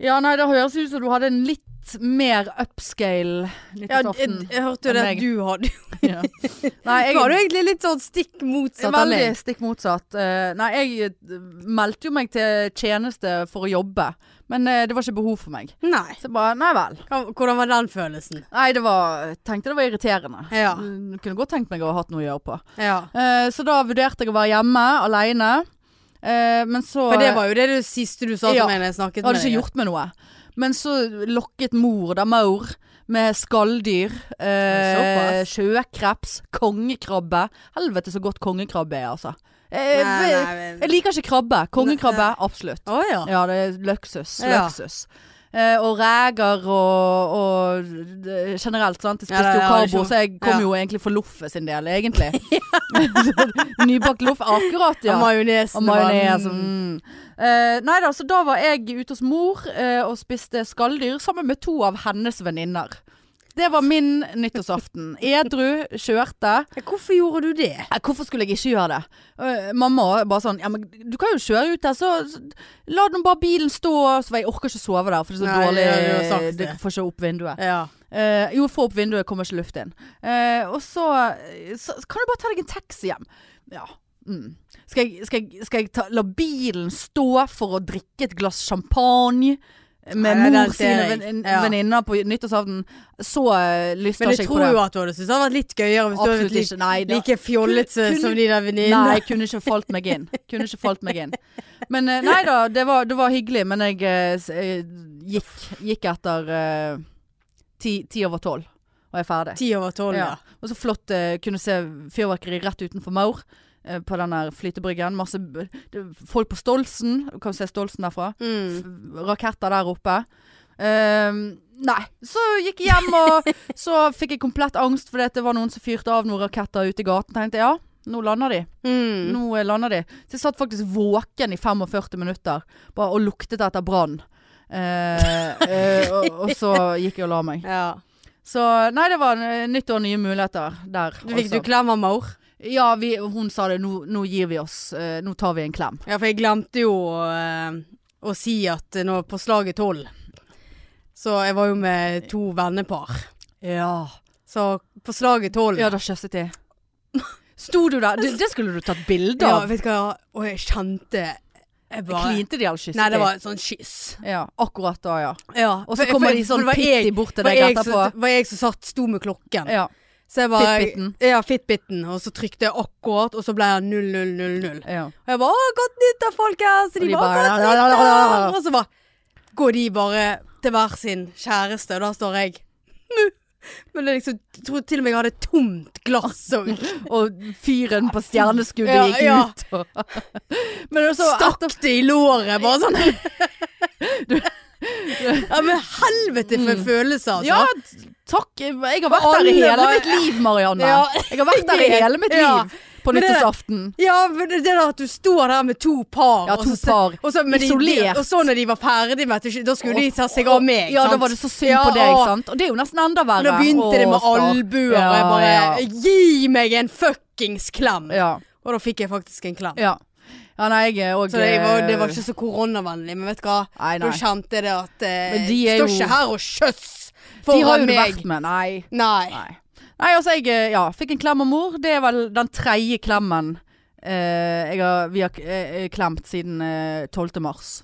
[SPEAKER 1] Ja, nei, det høres ut som du hadde en litt mer upscale
[SPEAKER 2] ja jeg,
[SPEAKER 1] nyttårsaften.
[SPEAKER 2] jeg hørte jo det
[SPEAKER 1] Enn meg.
[SPEAKER 2] at du hadde
[SPEAKER 1] Ja. Nei,
[SPEAKER 2] Du hadde jo egentlig litt sånn stikk motsatt av
[SPEAKER 1] Veldig
[SPEAKER 2] meg.
[SPEAKER 1] stikk motsatt. Eh, nei, jeg eh, meldte jo meg til tjeneste for å jobbe, men eh, det var ikke behov for meg.
[SPEAKER 2] Nei.
[SPEAKER 1] Så jeg bare, nei vel.
[SPEAKER 2] Hva- Hvordan var den følelsen?
[SPEAKER 1] Nei, det var, tenkte det var irriterende.
[SPEAKER 2] Ja.
[SPEAKER 1] Mm, Kunne godt tenkt meg å ha hatt noe å gjøre på.
[SPEAKER 2] ja.
[SPEAKER 1] Eh, så da vurderte jeg å være hjemme alene. Eh, men så
[SPEAKER 2] For det var jo det du siste du sa til
[SPEAKER 1] Ja.
[SPEAKER 2] meg når jeg snakket
[SPEAKER 1] Jeg hadde
[SPEAKER 2] med
[SPEAKER 1] ikke
[SPEAKER 2] deg.
[SPEAKER 1] gjort meg noe. Men så lokket mor da maur med skalldyr. Eh,
[SPEAKER 2] Såpass.
[SPEAKER 1] sjøkreps. Kongekrabbe. Helvete så godt kongekrabbe er, altså. Eh,
[SPEAKER 2] Nei, nei, men-
[SPEAKER 1] Jeg liker ikke krabbe. Kongekrabbe, absolutt.
[SPEAKER 2] Å ja.
[SPEAKER 1] Ja, det er luksus.
[SPEAKER 2] Ja.
[SPEAKER 1] luksus. Eh, og reger og, og eh, generelt, sant. Jeg
[SPEAKER 2] Ja,
[SPEAKER 1] spiste
[SPEAKER 2] det-
[SPEAKER 1] jo
[SPEAKER 2] ja, det er
[SPEAKER 1] karbo,
[SPEAKER 2] ikke-
[SPEAKER 1] så jeg kom
[SPEAKER 2] ja.
[SPEAKER 1] jo egentlig for loffe sin del, egentlig. Nybakt loff, akkurat, ja.
[SPEAKER 2] Og majonesen.
[SPEAKER 1] Og majones. Mm. Eh, nei da, så da var jeg ute hos mor eh, og spiste skalldyr sammen med to av hennes venninner. Det var min nyttårsaften. Edru kjørte.
[SPEAKER 2] Hvorfor gjorde du det?
[SPEAKER 1] Eh, Hvorfor skulle jeg ikke gjøre det? Eh, mamma bare sånn ja, men Du kan jo kjøre ut der, så så la nå bare bilen stå. Så var jeg orker ikke sove der, for det er så
[SPEAKER 2] Nei,
[SPEAKER 1] dårlig.
[SPEAKER 2] ja, du har sagt
[SPEAKER 1] du
[SPEAKER 2] det.
[SPEAKER 1] får ikke opp vinduet.
[SPEAKER 2] Ja.
[SPEAKER 1] Eh, jo, få opp Øh, vinduet, kommer ikke luft inn. Eh, og så, så kan du bare ta deg en taxi hjem. Ja. Mm. Skal jeg, skal jeg, skal jeg ta, la bilen stå for å drikke et glass champagne med
[SPEAKER 2] Nei, den
[SPEAKER 1] mor
[SPEAKER 2] ser
[SPEAKER 1] sine
[SPEAKER 2] jeg.
[SPEAKER 1] ven-
[SPEAKER 2] Ja.
[SPEAKER 1] venninner på nyttårsaften? Så eh, lyster
[SPEAKER 2] Men
[SPEAKER 1] ikke
[SPEAKER 2] jeg
[SPEAKER 1] jeg
[SPEAKER 2] tror
[SPEAKER 1] på det.
[SPEAKER 2] jo at du hadde syntes det hadde vært litt gøyere hvis du hadde
[SPEAKER 1] Absolutt
[SPEAKER 2] vært
[SPEAKER 1] ikke. Nei,
[SPEAKER 2] like,
[SPEAKER 1] det,
[SPEAKER 2] like fjollete
[SPEAKER 1] Kunne-
[SPEAKER 2] som de der
[SPEAKER 1] nei,
[SPEAKER 2] venninnene.
[SPEAKER 1] jeg kunne ikke falt meg inn. Kunne ikke falt meg inn. Men eh, nei da, det var, det var hyggelig, men jeg eh, s- eh, gikk, gikk etter eh, ti, ti over tolv. Og jeg er ferdig.
[SPEAKER 2] Ti over tolv, ja.
[SPEAKER 1] Og så flott eh, kunne se fyrverkeri rett utenfor Maur. eh, På den der flytebryggen. Masse b- det- folk på Stolsen. Du kan se Stolsen derfra.
[SPEAKER 2] Mm.
[SPEAKER 1] Raketter der oppe. Ehm, nei. Så gikk jeg hjem, og så fikk jeg komplett angst fordi at det var noen som fyrte av noen raketter ute i gaten. Tenkte jeg, ja, nå lander de.
[SPEAKER 2] Mm.
[SPEAKER 1] Nå eh, lander de. Så jeg satt faktisk våken i 45 minutter bare, og luktet etter brann. Eh, eh, og, og så gikk jeg og la meg.
[SPEAKER 2] ja.
[SPEAKER 1] Så nei, det var eh, nytt år, nye muligheter der.
[SPEAKER 2] Du fikk
[SPEAKER 1] også.
[SPEAKER 2] du klem av mor?
[SPEAKER 1] Ja, vi, hun sa det. Nå, nå gir vi oss. eh, nå tar vi en klem.
[SPEAKER 2] Ja, for jeg glemte jo eh, å si at nå på slaget tolv Så jeg var jo med to vennepar.
[SPEAKER 1] Ja.
[SPEAKER 2] Så på slaget tolv
[SPEAKER 1] Ja, da kjøsset de. Sto du der? Du, det skulle du tatt bilde
[SPEAKER 2] Ja,
[SPEAKER 1] av.
[SPEAKER 2] vet du hva, og jeg kjente jeg bare,
[SPEAKER 1] Klinte de eller kysset
[SPEAKER 2] Nei, det
[SPEAKER 1] de?
[SPEAKER 2] var et sånn kyss.
[SPEAKER 1] Ja, akkurat da, ja.
[SPEAKER 2] Ja,
[SPEAKER 1] Og
[SPEAKER 2] for-
[SPEAKER 1] så kommer
[SPEAKER 2] for-
[SPEAKER 1] de
[SPEAKER 2] for
[SPEAKER 1] sånn
[SPEAKER 2] det var jeg-
[SPEAKER 1] pitty bort til
[SPEAKER 2] var
[SPEAKER 1] deg
[SPEAKER 2] jeg
[SPEAKER 1] etterpå.
[SPEAKER 2] som- var jeg som satt, sto med klokken.
[SPEAKER 1] Ja.
[SPEAKER 2] Så jeg bare,
[SPEAKER 1] Fitbiten.
[SPEAKER 2] Ja, Fitbiten. Og så trykte jeg akkurat, og så ble det 0000.
[SPEAKER 1] ja.
[SPEAKER 2] Og jeg bare 'Å, godt nyttår, folkens!' Og de bare 'Godt nyttår!' Og så bare går de bare til hver sin kjæreste, og da står jeg «Mu». Men det er liksom, jeg tror til og med jeg hadde et tomt glass og
[SPEAKER 1] Og fyren på stjerneskuddet
[SPEAKER 2] Ja,
[SPEAKER 1] gikk
[SPEAKER 2] ja.
[SPEAKER 1] ut. Og Men også,
[SPEAKER 2] stakk det i låret. Bare sånn. ja, men helvete for en følelse, altså.
[SPEAKER 1] Ja, takk. Jeg har vært der
[SPEAKER 2] Alle
[SPEAKER 1] i hele
[SPEAKER 2] var-
[SPEAKER 1] mitt liv, Marianne.
[SPEAKER 2] Ja.
[SPEAKER 1] Jeg har vært der i hele mitt
[SPEAKER 2] Ja.
[SPEAKER 1] liv på
[SPEAKER 2] Men det-
[SPEAKER 1] nyttårsaften.
[SPEAKER 2] Ja, men det der at du står der med to par.
[SPEAKER 1] Ja,
[SPEAKER 2] og
[SPEAKER 1] to
[SPEAKER 2] så-
[SPEAKER 1] par.
[SPEAKER 2] Og så, men de-
[SPEAKER 1] Isolert.
[SPEAKER 2] De, og så når de var ferdig med at Da skulle de ta seg av meg.
[SPEAKER 1] Ja, da
[SPEAKER 2] sant?
[SPEAKER 1] var det så synd
[SPEAKER 2] Ja,
[SPEAKER 1] på deg,
[SPEAKER 2] og-
[SPEAKER 1] sant. Og det er jo nesten enda verre.
[SPEAKER 2] Nå begynte det med
[SPEAKER 1] Å, stakkar.
[SPEAKER 2] albuer, og jeg
[SPEAKER 1] Ja,
[SPEAKER 2] bare
[SPEAKER 1] ja.
[SPEAKER 2] Gi meg en fuckings klem!
[SPEAKER 1] Ja.
[SPEAKER 2] Og da fikk jeg faktisk en klem.
[SPEAKER 1] ja. Ja, nei, jeg er eh, òg
[SPEAKER 2] Så det var, det var ikke så koronavennlig, men vet du hva?
[SPEAKER 1] Nei,
[SPEAKER 2] Da
[SPEAKER 1] nei.
[SPEAKER 2] kjente jeg det at eh,
[SPEAKER 1] Men de er
[SPEAKER 2] Står
[SPEAKER 1] jo-
[SPEAKER 2] ikke her og kjøss
[SPEAKER 1] De har
[SPEAKER 2] foran
[SPEAKER 1] jo det
[SPEAKER 2] meg.
[SPEAKER 1] vært med. Nei.
[SPEAKER 2] Nei.
[SPEAKER 1] nei. Nei, altså jeg eh, ja, fikk en klem av mor. Det er vel den tredje klemmen eh, jeg har, vi har eh, klemt siden eh, 12. mars.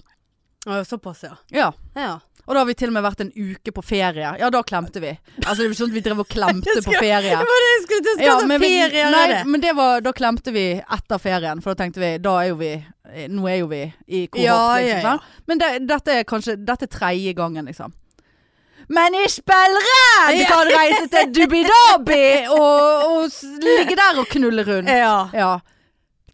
[SPEAKER 2] Å, Såpass, ja.
[SPEAKER 1] Ja.
[SPEAKER 2] ja.
[SPEAKER 1] Og da har vi til og med vært en uke på ferie. Ja, da klemte vi. Altså det er jo ikke sånn at vi drev og klemte på ferie.
[SPEAKER 2] Det var det jeg skulle til. Skal
[SPEAKER 1] Ja,
[SPEAKER 2] ta
[SPEAKER 1] men, vi,
[SPEAKER 2] ferie eller
[SPEAKER 1] nei,
[SPEAKER 2] det?
[SPEAKER 1] men det var, da klemte vi etter ferien, for da tenkte vi da er jo vi eh, Nå er jo vi i kohort,
[SPEAKER 2] Ja, ja,
[SPEAKER 1] liksom.
[SPEAKER 2] ja.
[SPEAKER 1] sant? Men det, dette er kanskje Dette er tredje gangen, liksom. Men ich bellredd kan reise til Dubidabi og, og s- ligge der og knulle rundt.
[SPEAKER 2] Ja.
[SPEAKER 1] Ja.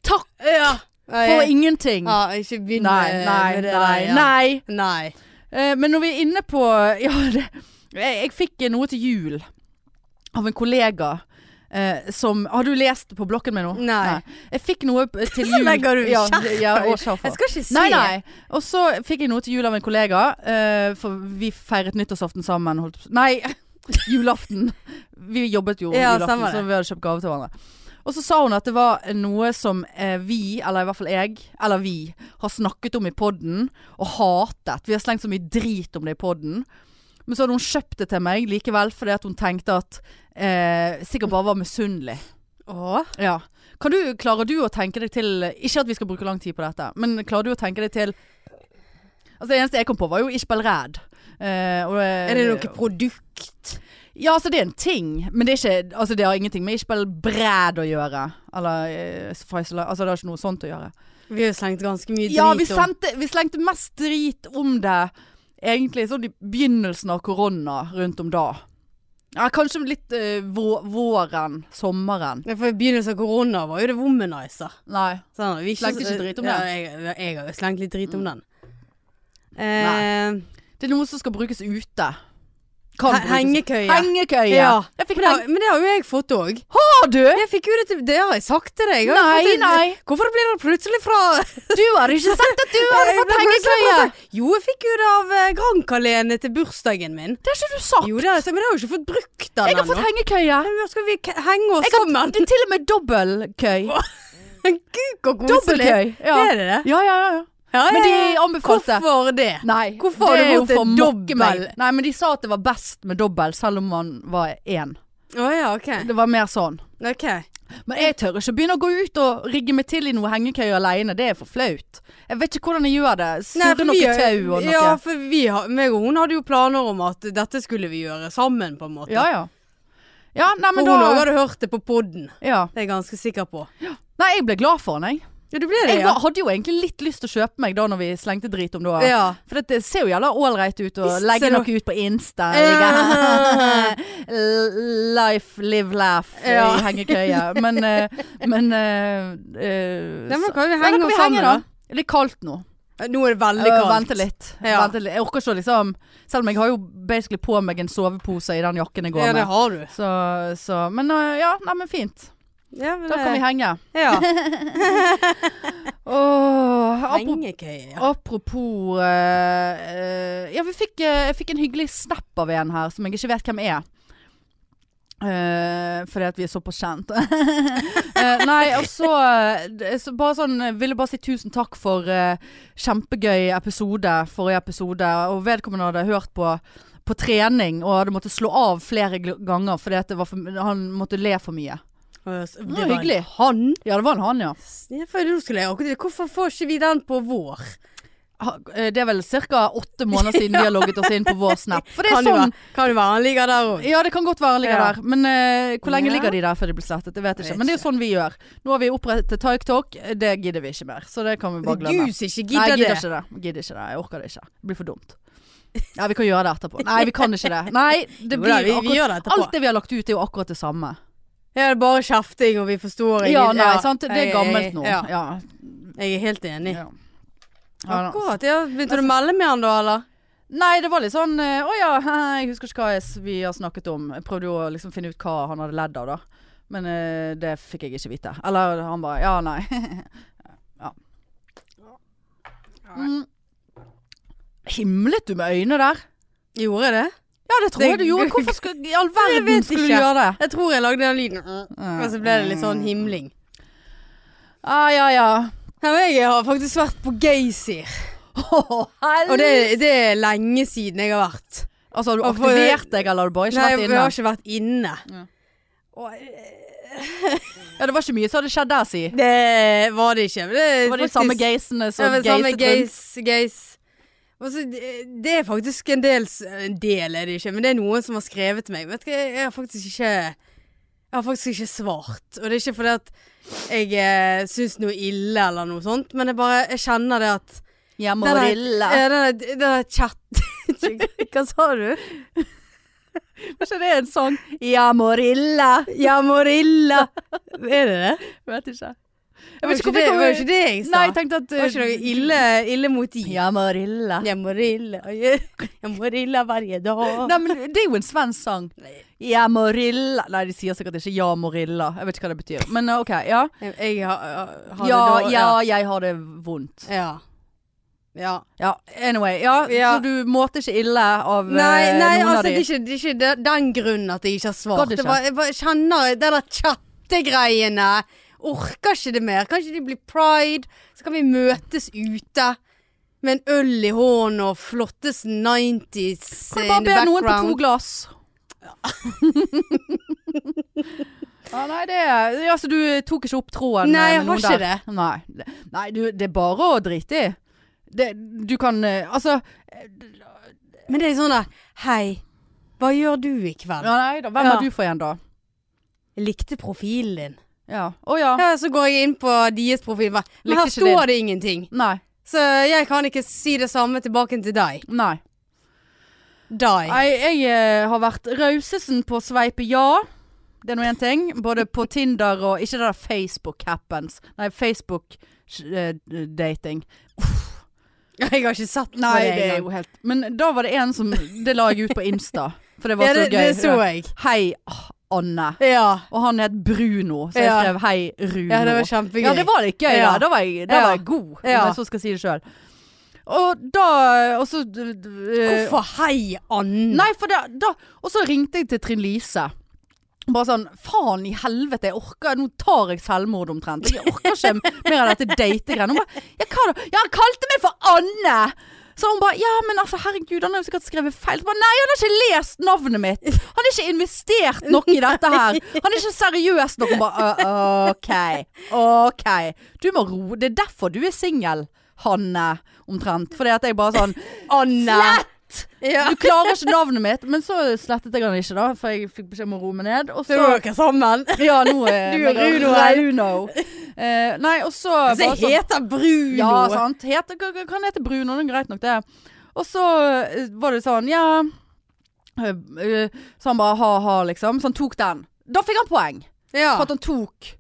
[SPEAKER 1] Takk
[SPEAKER 2] ja.
[SPEAKER 1] for ingenting.
[SPEAKER 2] Ja, ikke
[SPEAKER 1] Mm.
[SPEAKER 2] begynn
[SPEAKER 1] Nei,
[SPEAKER 2] med-
[SPEAKER 1] nei,
[SPEAKER 2] med det
[SPEAKER 1] nei.
[SPEAKER 2] der. Ja.
[SPEAKER 1] nei.
[SPEAKER 2] Nei.
[SPEAKER 1] Eh, Men når vi er inne på Ja, det, jeg, jeg fikk eh, noe til jul av en kollega. Eh, som Har du lest på blokken min nå?
[SPEAKER 2] Nei.
[SPEAKER 1] Jeg fikk noe p- til jul.
[SPEAKER 2] Legger du
[SPEAKER 1] ja,
[SPEAKER 2] skjerfet
[SPEAKER 1] ja,
[SPEAKER 2] på?
[SPEAKER 1] i skjerfet.
[SPEAKER 2] Jeg skal ikke si
[SPEAKER 1] Nei, nei. Og så fikk jeg noe til jul av en kollega. eh, for vi feiret nyttårsaften sammen. Holdt, nei, julaften. Vi jobbet jo
[SPEAKER 2] Ja,
[SPEAKER 1] julaften,
[SPEAKER 2] stemmer det.
[SPEAKER 1] så vi hadde kjøpt gave til hverandre. Og så sa hun at det var noe som eh, vi, eller i hvert fall jeg, eller vi, har snakket om i podden og hatet. Vi har slengt så mye drit om det i podden. Men så hadde hun kjøpt det til meg likevel fordi at hun tenkte at eh, sikkert bare var misunnelig.
[SPEAKER 2] Åh.
[SPEAKER 1] Ja. Kan du, klarer du å tenke deg til Ikke at vi skal bruke lang tid på dette, men klarer du å tenke deg til Altså Det eneste jeg kom på, var jo Ishbel Ræd. Eh, og,
[SPEAKER 2] Er det noe produkt?
[SPEAKER 1] Ja, altså det er en ting, men det, er ikke, altså, det har ingenting med Ishbel Bræd å gjøre. Eller eh, Faisal Altså det har ikke noe sånt å gjøre.
[SPEAKER 2] Vi har jo slengt ganske mye drit
[SPEAKER 1] Ja, vi,
[SPEAKER 2] om-
[SPEAKER 1] sendte, vi slengte mest drit om det egentlig sånn i begynnelsen av korona rundt om da. Ja, kanskje litt eh, vå- våren, sommeren.
[SPEAKER 2] Nei, for I begynnelsen av korona var jo det womanizer.
[SPEAKER 1] Nei.
[SPEAKER 2] Sånn, vi
[SPEAKER 1] Slengte ikke drit om
[SPEAKER 2] ja,
[SPEAKER 1] den. Mm.
[SPEAKER 2] Jeg, jeg har jo slengt litt drit om den.
[SPEAKER 1] Nei.
[SPEAKER 2] Eh,
[SPEAKER 1] Det er noe som skal brukes ute.
[SPEAKER 2] he-
[SPEAKER 1] Kan
[SPEAKER 2] hengekøye.
[SPEAKER 1] Hengekøye.
[SPEAKER 2] Ja.
[SPEAKER 1] Jeg fikk
[SPEAKER 2] men, det,
[SPEAKER 1] heng...
[SPEAKER 2] har- men det har jo jeg fått òg.
[SPEAKER 1] Har du?
[SPEAKER 2] Jeg fikk jo det til Det har jeg sagt til deg. Jeg har jo
[SPEAKER 1] Nei,
[SPEAKER 2] fått en-
[SPEAKER 1] nei.
[SPEAKER 2] Hvorfor blir det plutselig fra
[SPEAKER 1] Du har ikke sagt at du hadde
[SPEAKER 2] Jeg
[SPEAKER 1] fått
[SPEAKER 2] ble plutselig
[SPEAKER 1] hengekøye.
[SPEAKER 2] fra- Jo, jeg fikk jo det av eh, Grankalene til bursdagen min.
[SPEAKER 1] Det har ikke du sagt.
[SPEAKER 2] Jo, det har jeg sagt, men jeg har jo ikke fått brukt den
[SPEAKER 1] Jeg har fått hengekøye.
[SPEAKER 2] Nå skal vi k- henge oss
[SPEAKER 1] Jeg har,
[SPEAKER 2] sammen.
[SPEAKER 1] det er til og med dobbeltkøy.
[SPEAKER 2] Gud, så koselig.
[SPEAKER 1] Dobbeltkøy. Ja.
[SPEAKER 2] Er det det?
[SPEAKER 1] Ja, ja, ja, ja.
[SPEAKER 2] Ja,
[SPEAKER 1] Men
[SPEAKER 2] ja,
[SPEAKER 1] de
[SPEAKER 2] ja.
[SPEAKER 1] anbefalte-
[SPEAKER 2] Hvorfor det?
[SPEAKER 1] Nei.
[SPEAKER 2] Hvorfor har
[SPEAKER 1] det
[SPEAKER 2] du
[SPEAKER 1] er jo
[SPEAKER 2] fått en
[SPEAKER 1] for å mokke meg.
[SPEAKER 2] dobbel?
[SPEAKER 1] Nei, men de sa at det var best med dobbel, selv om man var én.
[SPEAKER 2] Å ja, OK.
[SPEAKER 1] Det var mer sånn.
[SPEAKER 2] Ok.
[SPEAKER 1] Men jeg tør ikke begynne å gå ut og rigge meg til i noe hengekøye alene. Det er for flaut. Jeg vet ikke hvordan jeg gjør det.
[SPEAKER 2] Nei,
[SPEAKER 1] Surre
[SPEAKER 2] for vi
[SPEAKER 1] noe
[SPEAKER 2] er-
[SPEAKER 1] tau og noe.
[SPEAKER 2] Ja, for vi har, meg og hun hadde jo planer om at dette skulle vi gjøre sammen, på en måte.
[SPEAKER 1] Ja, ja. Ja, nei, men
[SPEAKER 2] for hun òg
[SPEAKER 1] da
[SPEAKER 2] hadde hørt det på podden.
[SPEAKER 1] ja.
[SPEAKER 2] Det er jeg ganske sikker på.
[SPEAKER 1] Nei, jeg ble glad for den, jeg.
[SPEAKER 2] Ja, du ble
[SPEAKER 1] Jeg
[SPEAKER 2] det, ja.
[SPEAKER 1] var, hadde jo egentlig litt lyst til å kjøpe meg da når vi slengte drit om det. også.
[SPEAKER 2] ja.
[SPEAKER 1] For dette ser jo jævla ålreit ut å
[SPEAKER 2] Visst
[SPEAKER 1] legge
[SPEAKER 2] ser det-
[SPEAKER 1] noe ut på Insta.
[SPEAKER 2] Ja.
[SPEAKER 1] ligge- L- Life, live, laugh eh,
[SPEAKER 2] Ja.
[SPEAKER 1] i hengekøye. Men, eh, men eh, eh,
[SPEAKER 2] Nei, men
[SPEAKER 1] så-
[SPEAKER 2] kan vi
[SPEAKER 1] Ja,
[SPEAKER 2] henge
[SPEAKER 1] kan
[SPEAKER 2] oss
[SPEAKER 1] vi henge,
[SPEAKER 2] sammen,
[SPEAKER 1] da?
[SPEAKER 2] da?
[SPEAKER 1] Det er kaldt nå.
[SPEAKER 2] Nå er det veldig
[SPEAKER 1] Øh,
[SPEAKER 2] kaldt.
[SPEAKER 1] Vente litt.
[SPEAKER 2] Ja.
[SPEAKER 1] Vente litt. Jeg orker ikke å liksom Selv om jeg har jo basically på meg en sovepose i den jakken jeg går
[SPEAKER 2] Ja, det
[SPEAKER 1] med.
[SPEAKER 2] har du.
[SPEAKER 1] Så, så Men øh, ja, nei, men fint.
[SPEAKER 2] Ja, men
[SPEAKER 1] Da kan vi henge.
[SPEAKER 2] Ja.
[SPEAKER 1] Åh, apropos
[SPEAKER 2] Hengekøye, ja.
[SPEAKER 1] apropos øh, øh, Ja, vi fikk, øh, jeg fikk en hyggelig snap av en her som jeg ikke vet hvem er. Eh, fordi at vi er såpass kjent. Eh, nei, og så, eh, det- så Bare sånn eh, Ville bare si tusen takk for eh, kjempegøy episode, forrige episode. Og vedkommende hadde hørt på på trening og hadde måttet slå av flere gl- ganger fordi at det var for, han måtte le for mye.
[SPEAKER 2] Det
[SPEAKER 1] var hyggelig.
[SPEAKER 2] han.
[SPEAKER 1] Ja, det var en han, ja.
[SPEAKER 2] Ja, for nå skulle jeg akkurat Hvorfor får ikke vi den på vår?
[SPEAKER 1] Ha- eh, Det er vel ca. åtte måneder siden de har logget oss inn på vår Snap. For det er
[SPEAKER 2] Kan jo
[SPEAKER 1] sånn
[SPEAKER 2] være, kan jo være han ligger der òg.
[SPEAKER 1] Ja, det kan godt være han ligger
[SPEAKER 2] Ja.
[SPEAKER 1] der. Men eh, hvor lenge
[SPEAKER 2] Ja.
[SPEAKER 1] ligger de der før de blir slettet? Det vet jeg
[SPEAKER 2] Vet
[SPEAKER 1] ikke. Men det er jo sånn vi gjør. Nå har vi opprettet TikTok. Det gidder vi ikke mer. Så det kan vi bare
[SPEAKER 2] Det altså.
[SPEAKER 1] glemme.
[SPEAKER 2] er du som ikke
[SPEAKER 1] Nei,
[SPEAKER 2] gidder
[SPEAKER 1] jeg gidder
[SPEAKER 2] det.
[SPEAKER 1] ikke det. Jeg gidder ikke det. Jeg orker det ikke. Det blir for dumt. Ja, vi kan gjøre det etterpå. Nei, vi kan ikke det. Nei, det
[SPEAKER 2] Jo
[SPEAKER 1] blir
[SPEAKER 2] da, vi, vi
[SPEAKER 1] akkurat
[SPEAKER 2] gjør det etterpå.
[SPEAKER 1] Alt det vi har lagt ut, er jo akkurat det samme.
[SPEAKER 2] Ja, det er bare kjefting, og vi forstår
[SPEAKER 1] Ja,
[SPEAKER 2] ingen-
[SPEAKER 1] nei, sant. Det
[SPEAKER 2] Jeg-
[SPEAKER 1] er
[SPEAKER 2] jeg-
[SPEAKER 1] gammelt nå.
[SPEAKER 2] Ja,
[SPEAKER 1] Ja.
[SPEAKER 2] jeg er helt enig.
[SPEAKER 1] Ja. Ja, altså. da.
[SPEAKER 2] Akkurat. Ja, begynte du å melde med han da, eller?
[SPEAKER 1] Nei, det var litt sånn eh, Å ja, jeg husker ikke hva jeg, s- vi har snakket om. Jeg prøvde jo å liksom finne ut hva han hadde ledd av, da. Men eh, det fikk jeg ikke vite. Eller han bare Ja, nei. ja. Mm. Himlet du med øynene der?
[SPEAKER 2] Gjorde jeg det?
[SPEAKER 1] Ja, det tror
[SPEAKER 2] Det-
[SPEAKER 1] jeg du gjorde. Hvorfor skulle, i all verden
[SPEAKER 2] vet
[SPEAKER 1] skulle du
[SPEAKER 2] ikke.
[SPEAKER 1] gjøre det?
[SPEAKER 2] Jeg tror jeg lagde den lyden, og så ble det litt sånn himling.
[SPEAKER 1] Ah, ja, ja.
[SPEAKER 2] Ja, men jeg har faktisk vært på Geysir, og
[SPEAKER 1] det,
[SPEAKER 2] det, det er lenge siden jeg har vært.
[SPEAKER 1] altså, har du
[SPEAKER 2] Og for-
[SPEAKER 1] aktivert deg, eller har du bare ikke
[SPEAKER 2] Nei,
[SPEAKER 1] vært
[SPEAKER 2] jeg
[SPEAKER 1] inne?
[SPEAKER 2] har ikke vært inne.
[SPEAKER 1] Ja.
[SPEAKER 2] Og
[SPEAKER 1] Ja, det var ikke mye som hadde skjedd der, si.
[SPEAKER 2] det var det ikke. men Det, er
[SPEAKER 1] Det var de
[SPEAKER 2] faktisk-
[SPEAKER 1] samme geisene
[SPEAKER 2] Ja,
[SPEAKER 1] som
[SPEAKER 2] men
[SPEAKER 1] geiset
[SPEAKER 2] samme
[SPEAKER 1] rundt.
[SPEAKER 2] geis, geis. Og så, det- det er faktisk en del s- En del er det ikke, men det er noen som har skrevet til meg. Vet du hva, jeg har faktisk ikke Jeg har faktisk ikke svart. Og det er ikke fordi at jeg eh, syns noe ille eller noe sånt, men jeg bare jeg kjenner det at
[SPEAKER 1] Jeg må
[SPEAKER 2] Den er-
[SPEAKER 1] rille.
[SPEAKER 2] eh, Den der- den der chat Hva sa du?
[SPEAKER 1] Var ikke det en sang? Ja, Morilla.
[SPEAKER 2] Ja, Morilla. Er det det?
[SPEAKER 1] Vet ikke.
[SPEAKER 2] Jeg
[SPEAKER 1] Jeg
[SPEAKER 2] vet ikke hvorfor det var jo ikke det jeg sa.
[SPEAKER 1] Nei, jeg tenkte at eh,
[SPEAKER 2] det var ikke noe ille, ille mot de.
[SPEAKER 1] Ja, Morilla.
[SPEAKER 2] Jeg må rille, jeg må rille hver dag.
[SPEAKER 1] Nei, men det er jo en svensk sang. Ja, Morilla. Nei, de sier sikkert ikke ja, Morilla. Jeg vet ikke hva det betyr. Men uh, OK, ja.
[SPEAKER 2] Jeg, jeg har, eh, har
[SPEAKER 1] Ja,
[SPEAKER 2] det da,
[SPEAKER 1] ja, jeg har det vondt.
[SPEAKER 2] ja. Ja.
[SPEAKER 1] Ja, anyway. Ja,
[SPEAKER 2] Ja.
[SPEAKER 1] så du målte ikke ille av eh,
[SPEAKER 2] Nei, nei
[SPEAKER 1] noen
[SPEAKER 2] altså,
[SPEAKER 1] av
[SPEAKER 2] det er
[SPEAKER 1] de?
[SPEAKER 2] ikke, det er ikke de- den grunnen at jeg ikke har svart.
[SPEAKER 1] Gadd ikke.
[SPEAKER 2] Det var, jeg bare kjenner det der chattegreiene. Orker ikke det mer. Kanskje det blir pride, så kan vi møtes ute. Med en øl i hånden og flottes 90s
[SPEAKER 1] Kan du
[SPEAKER 2] in
[SPEAKER 1] bare
[SPEAKER 2] the
[SPEAKER 1] be noen på to
[SPEAKER 2] background.
[SPEAKER 1] glass? Ja, nei, det ja, Altså, du tok ikke opp tråden
[SPEAKER 2] Nei,
[SPEAKER 1] eh, med
[SPEAKER 2] jeg har
[SPEAKER 1] noen
[SPEAKER 2] ikke
[SPEAKER 1] der. Nei, nei du, det er bare å drite i. Det, du kan eh, Altså
[SPEAKER 2] Men det er sånn der Hei, hva gjør du i kveld?
[SPEAKER 1] ja, nei, da, Hvem
[SPEAKER 2] Ja.
[SPEAKER 1] er du for igjen, da?
[SPEAKER 2] Jeg likte profilen din.
[SPEAKER 1] Ja. Å ja.
[SPEAKER 2] Ja, så går jeg inn på deres profil. hva- Men
[SPEAKER 1] Likte
[SPEAKER 2] her
[SPEAKER 1] ikke din.
[SPEAKER 2] står det ingenting.
[SPEAKER 1] Nei.
[SPEAKER 2] Så jeg kan ikke si det samme tilbake til deg.
[SPEAKER 1] Nei.
[SPEAKER 2] Deg.
[SPEAKER 1] Nei, jeg eh, har vært rausesen på å sveipe ja. Det er nå én ting. Både på Tinder og ikke det der Facebook happens. Nei, Facebook eh, dating.
[SPEAKER 2] Jeg har ikke sett på
[SPEAKER 1] Nei,
[SPEAKER 2] det
[SPEAKER 1] det er
[SPEAKER 2] engang.
[SPEAKER 1] jo helt Men da var det en som Det la jeg ut på Insta, for det var
[SPEAKER 2] Ja,
[SPEAKER 1] så gøy.
[SPEAKER 2] det, det så jeg.
[SPEAKER 1] Hei, ah, Anne.
[SPEAKER 2] Ja.
[SPEAKER 1] Og han het Bruno, så jeg
[SPEAKER 2] Ja.
[SPEAKER 1] skrev hei, Runo.
[SPEAKER 2] ja, det var kjempegøy.
[SPEAKER 1] Ja, det var litt gøy,
[SPEAKER 2] Ja.
[SPEAKER 1] da. Da var jeg, da
[SPEAKER 2] Ja.
[SPEAKER 1] var jeg god,
[SPEAKER 2] Ja.
[SPEAKER 1] om jeg så skal si det sjøl. Og da Og så d- d- eh,
[SPEAKER 2] Hvorfor hei Anne?
[SPEAKER 1] Nei, for da, da Og så ringte jeg til Trine Lise. Bare sånn Faen i helvete, jeg orker Nå tar jeg selvmord omtrent. Jeg orker ikke mer av dette dategreiene. Hun bare Ja, hva da? Ja, han kalte meg for Anne! Så hun bare 'ja, men altså herregud, han har jo sikkert skrevet feil'. Så bare, Nei, han har ikke lest navnet mitt! Han har ikke investert nok i dette her! Han er ikke seriøs nok! Hun bare «Å, 'OK, OK'. Du må ro Det er derfor du er singel, Hanne, omtrent. Fordi at jeg bare sånn
[SPEAKER 2] Anne!
[SPEAKER 1] Slett!
[SPEAKER 2] Ja.
[SPEAKER 1] Du klarer ikke navnet mitt. Men så slettet jeg han ikke, da, for jeg fikk beskjed om å roe meg ned. Og
[SPEAKER 2] Så er
[SPEAKER 1] så
[SPEAKER 2] dere sammen.
[SPEAKER 1] Ja, nå er
[SPEAKER 2] Du og
[SPEAKER 1] meg
[SPEAKER 2] Runo
[SPEAKER 1] Nei,
[SPEAKER 2] her.
[SPEAKER 1] Runo. Eh, nei, og så
[SPEAKER 2] Så
[SPEAKER 1] bare
[SPEAKER 2] jeg heter Bruno.
[SPEAKER 1] ja, sant. Het, kan- kan hete Bruno, det er greit nok det. Og så eh, var det sånn, ja eh, eh, Så han bare ha-ha, liksom. Så han tok den. Da fikk han poeng
[SPEAKER 2] Ja.
[SPEAKER 1] for at han tok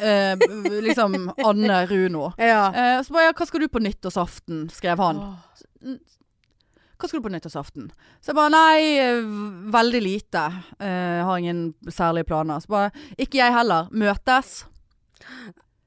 [SPEAKER 1] eh, b- liksom Anne Runo.
[SPEAKER 2] ja.
[SPEAKER 1] Eh, så bare ja, hva skal du på nyttårsaften, skrev han. Hva skal du på nyttårsaften? Så jeg bare nei, eh, v- veldig lite. Eh, har ingen særlige planer. Så bare ikke jeg heller. Møtes.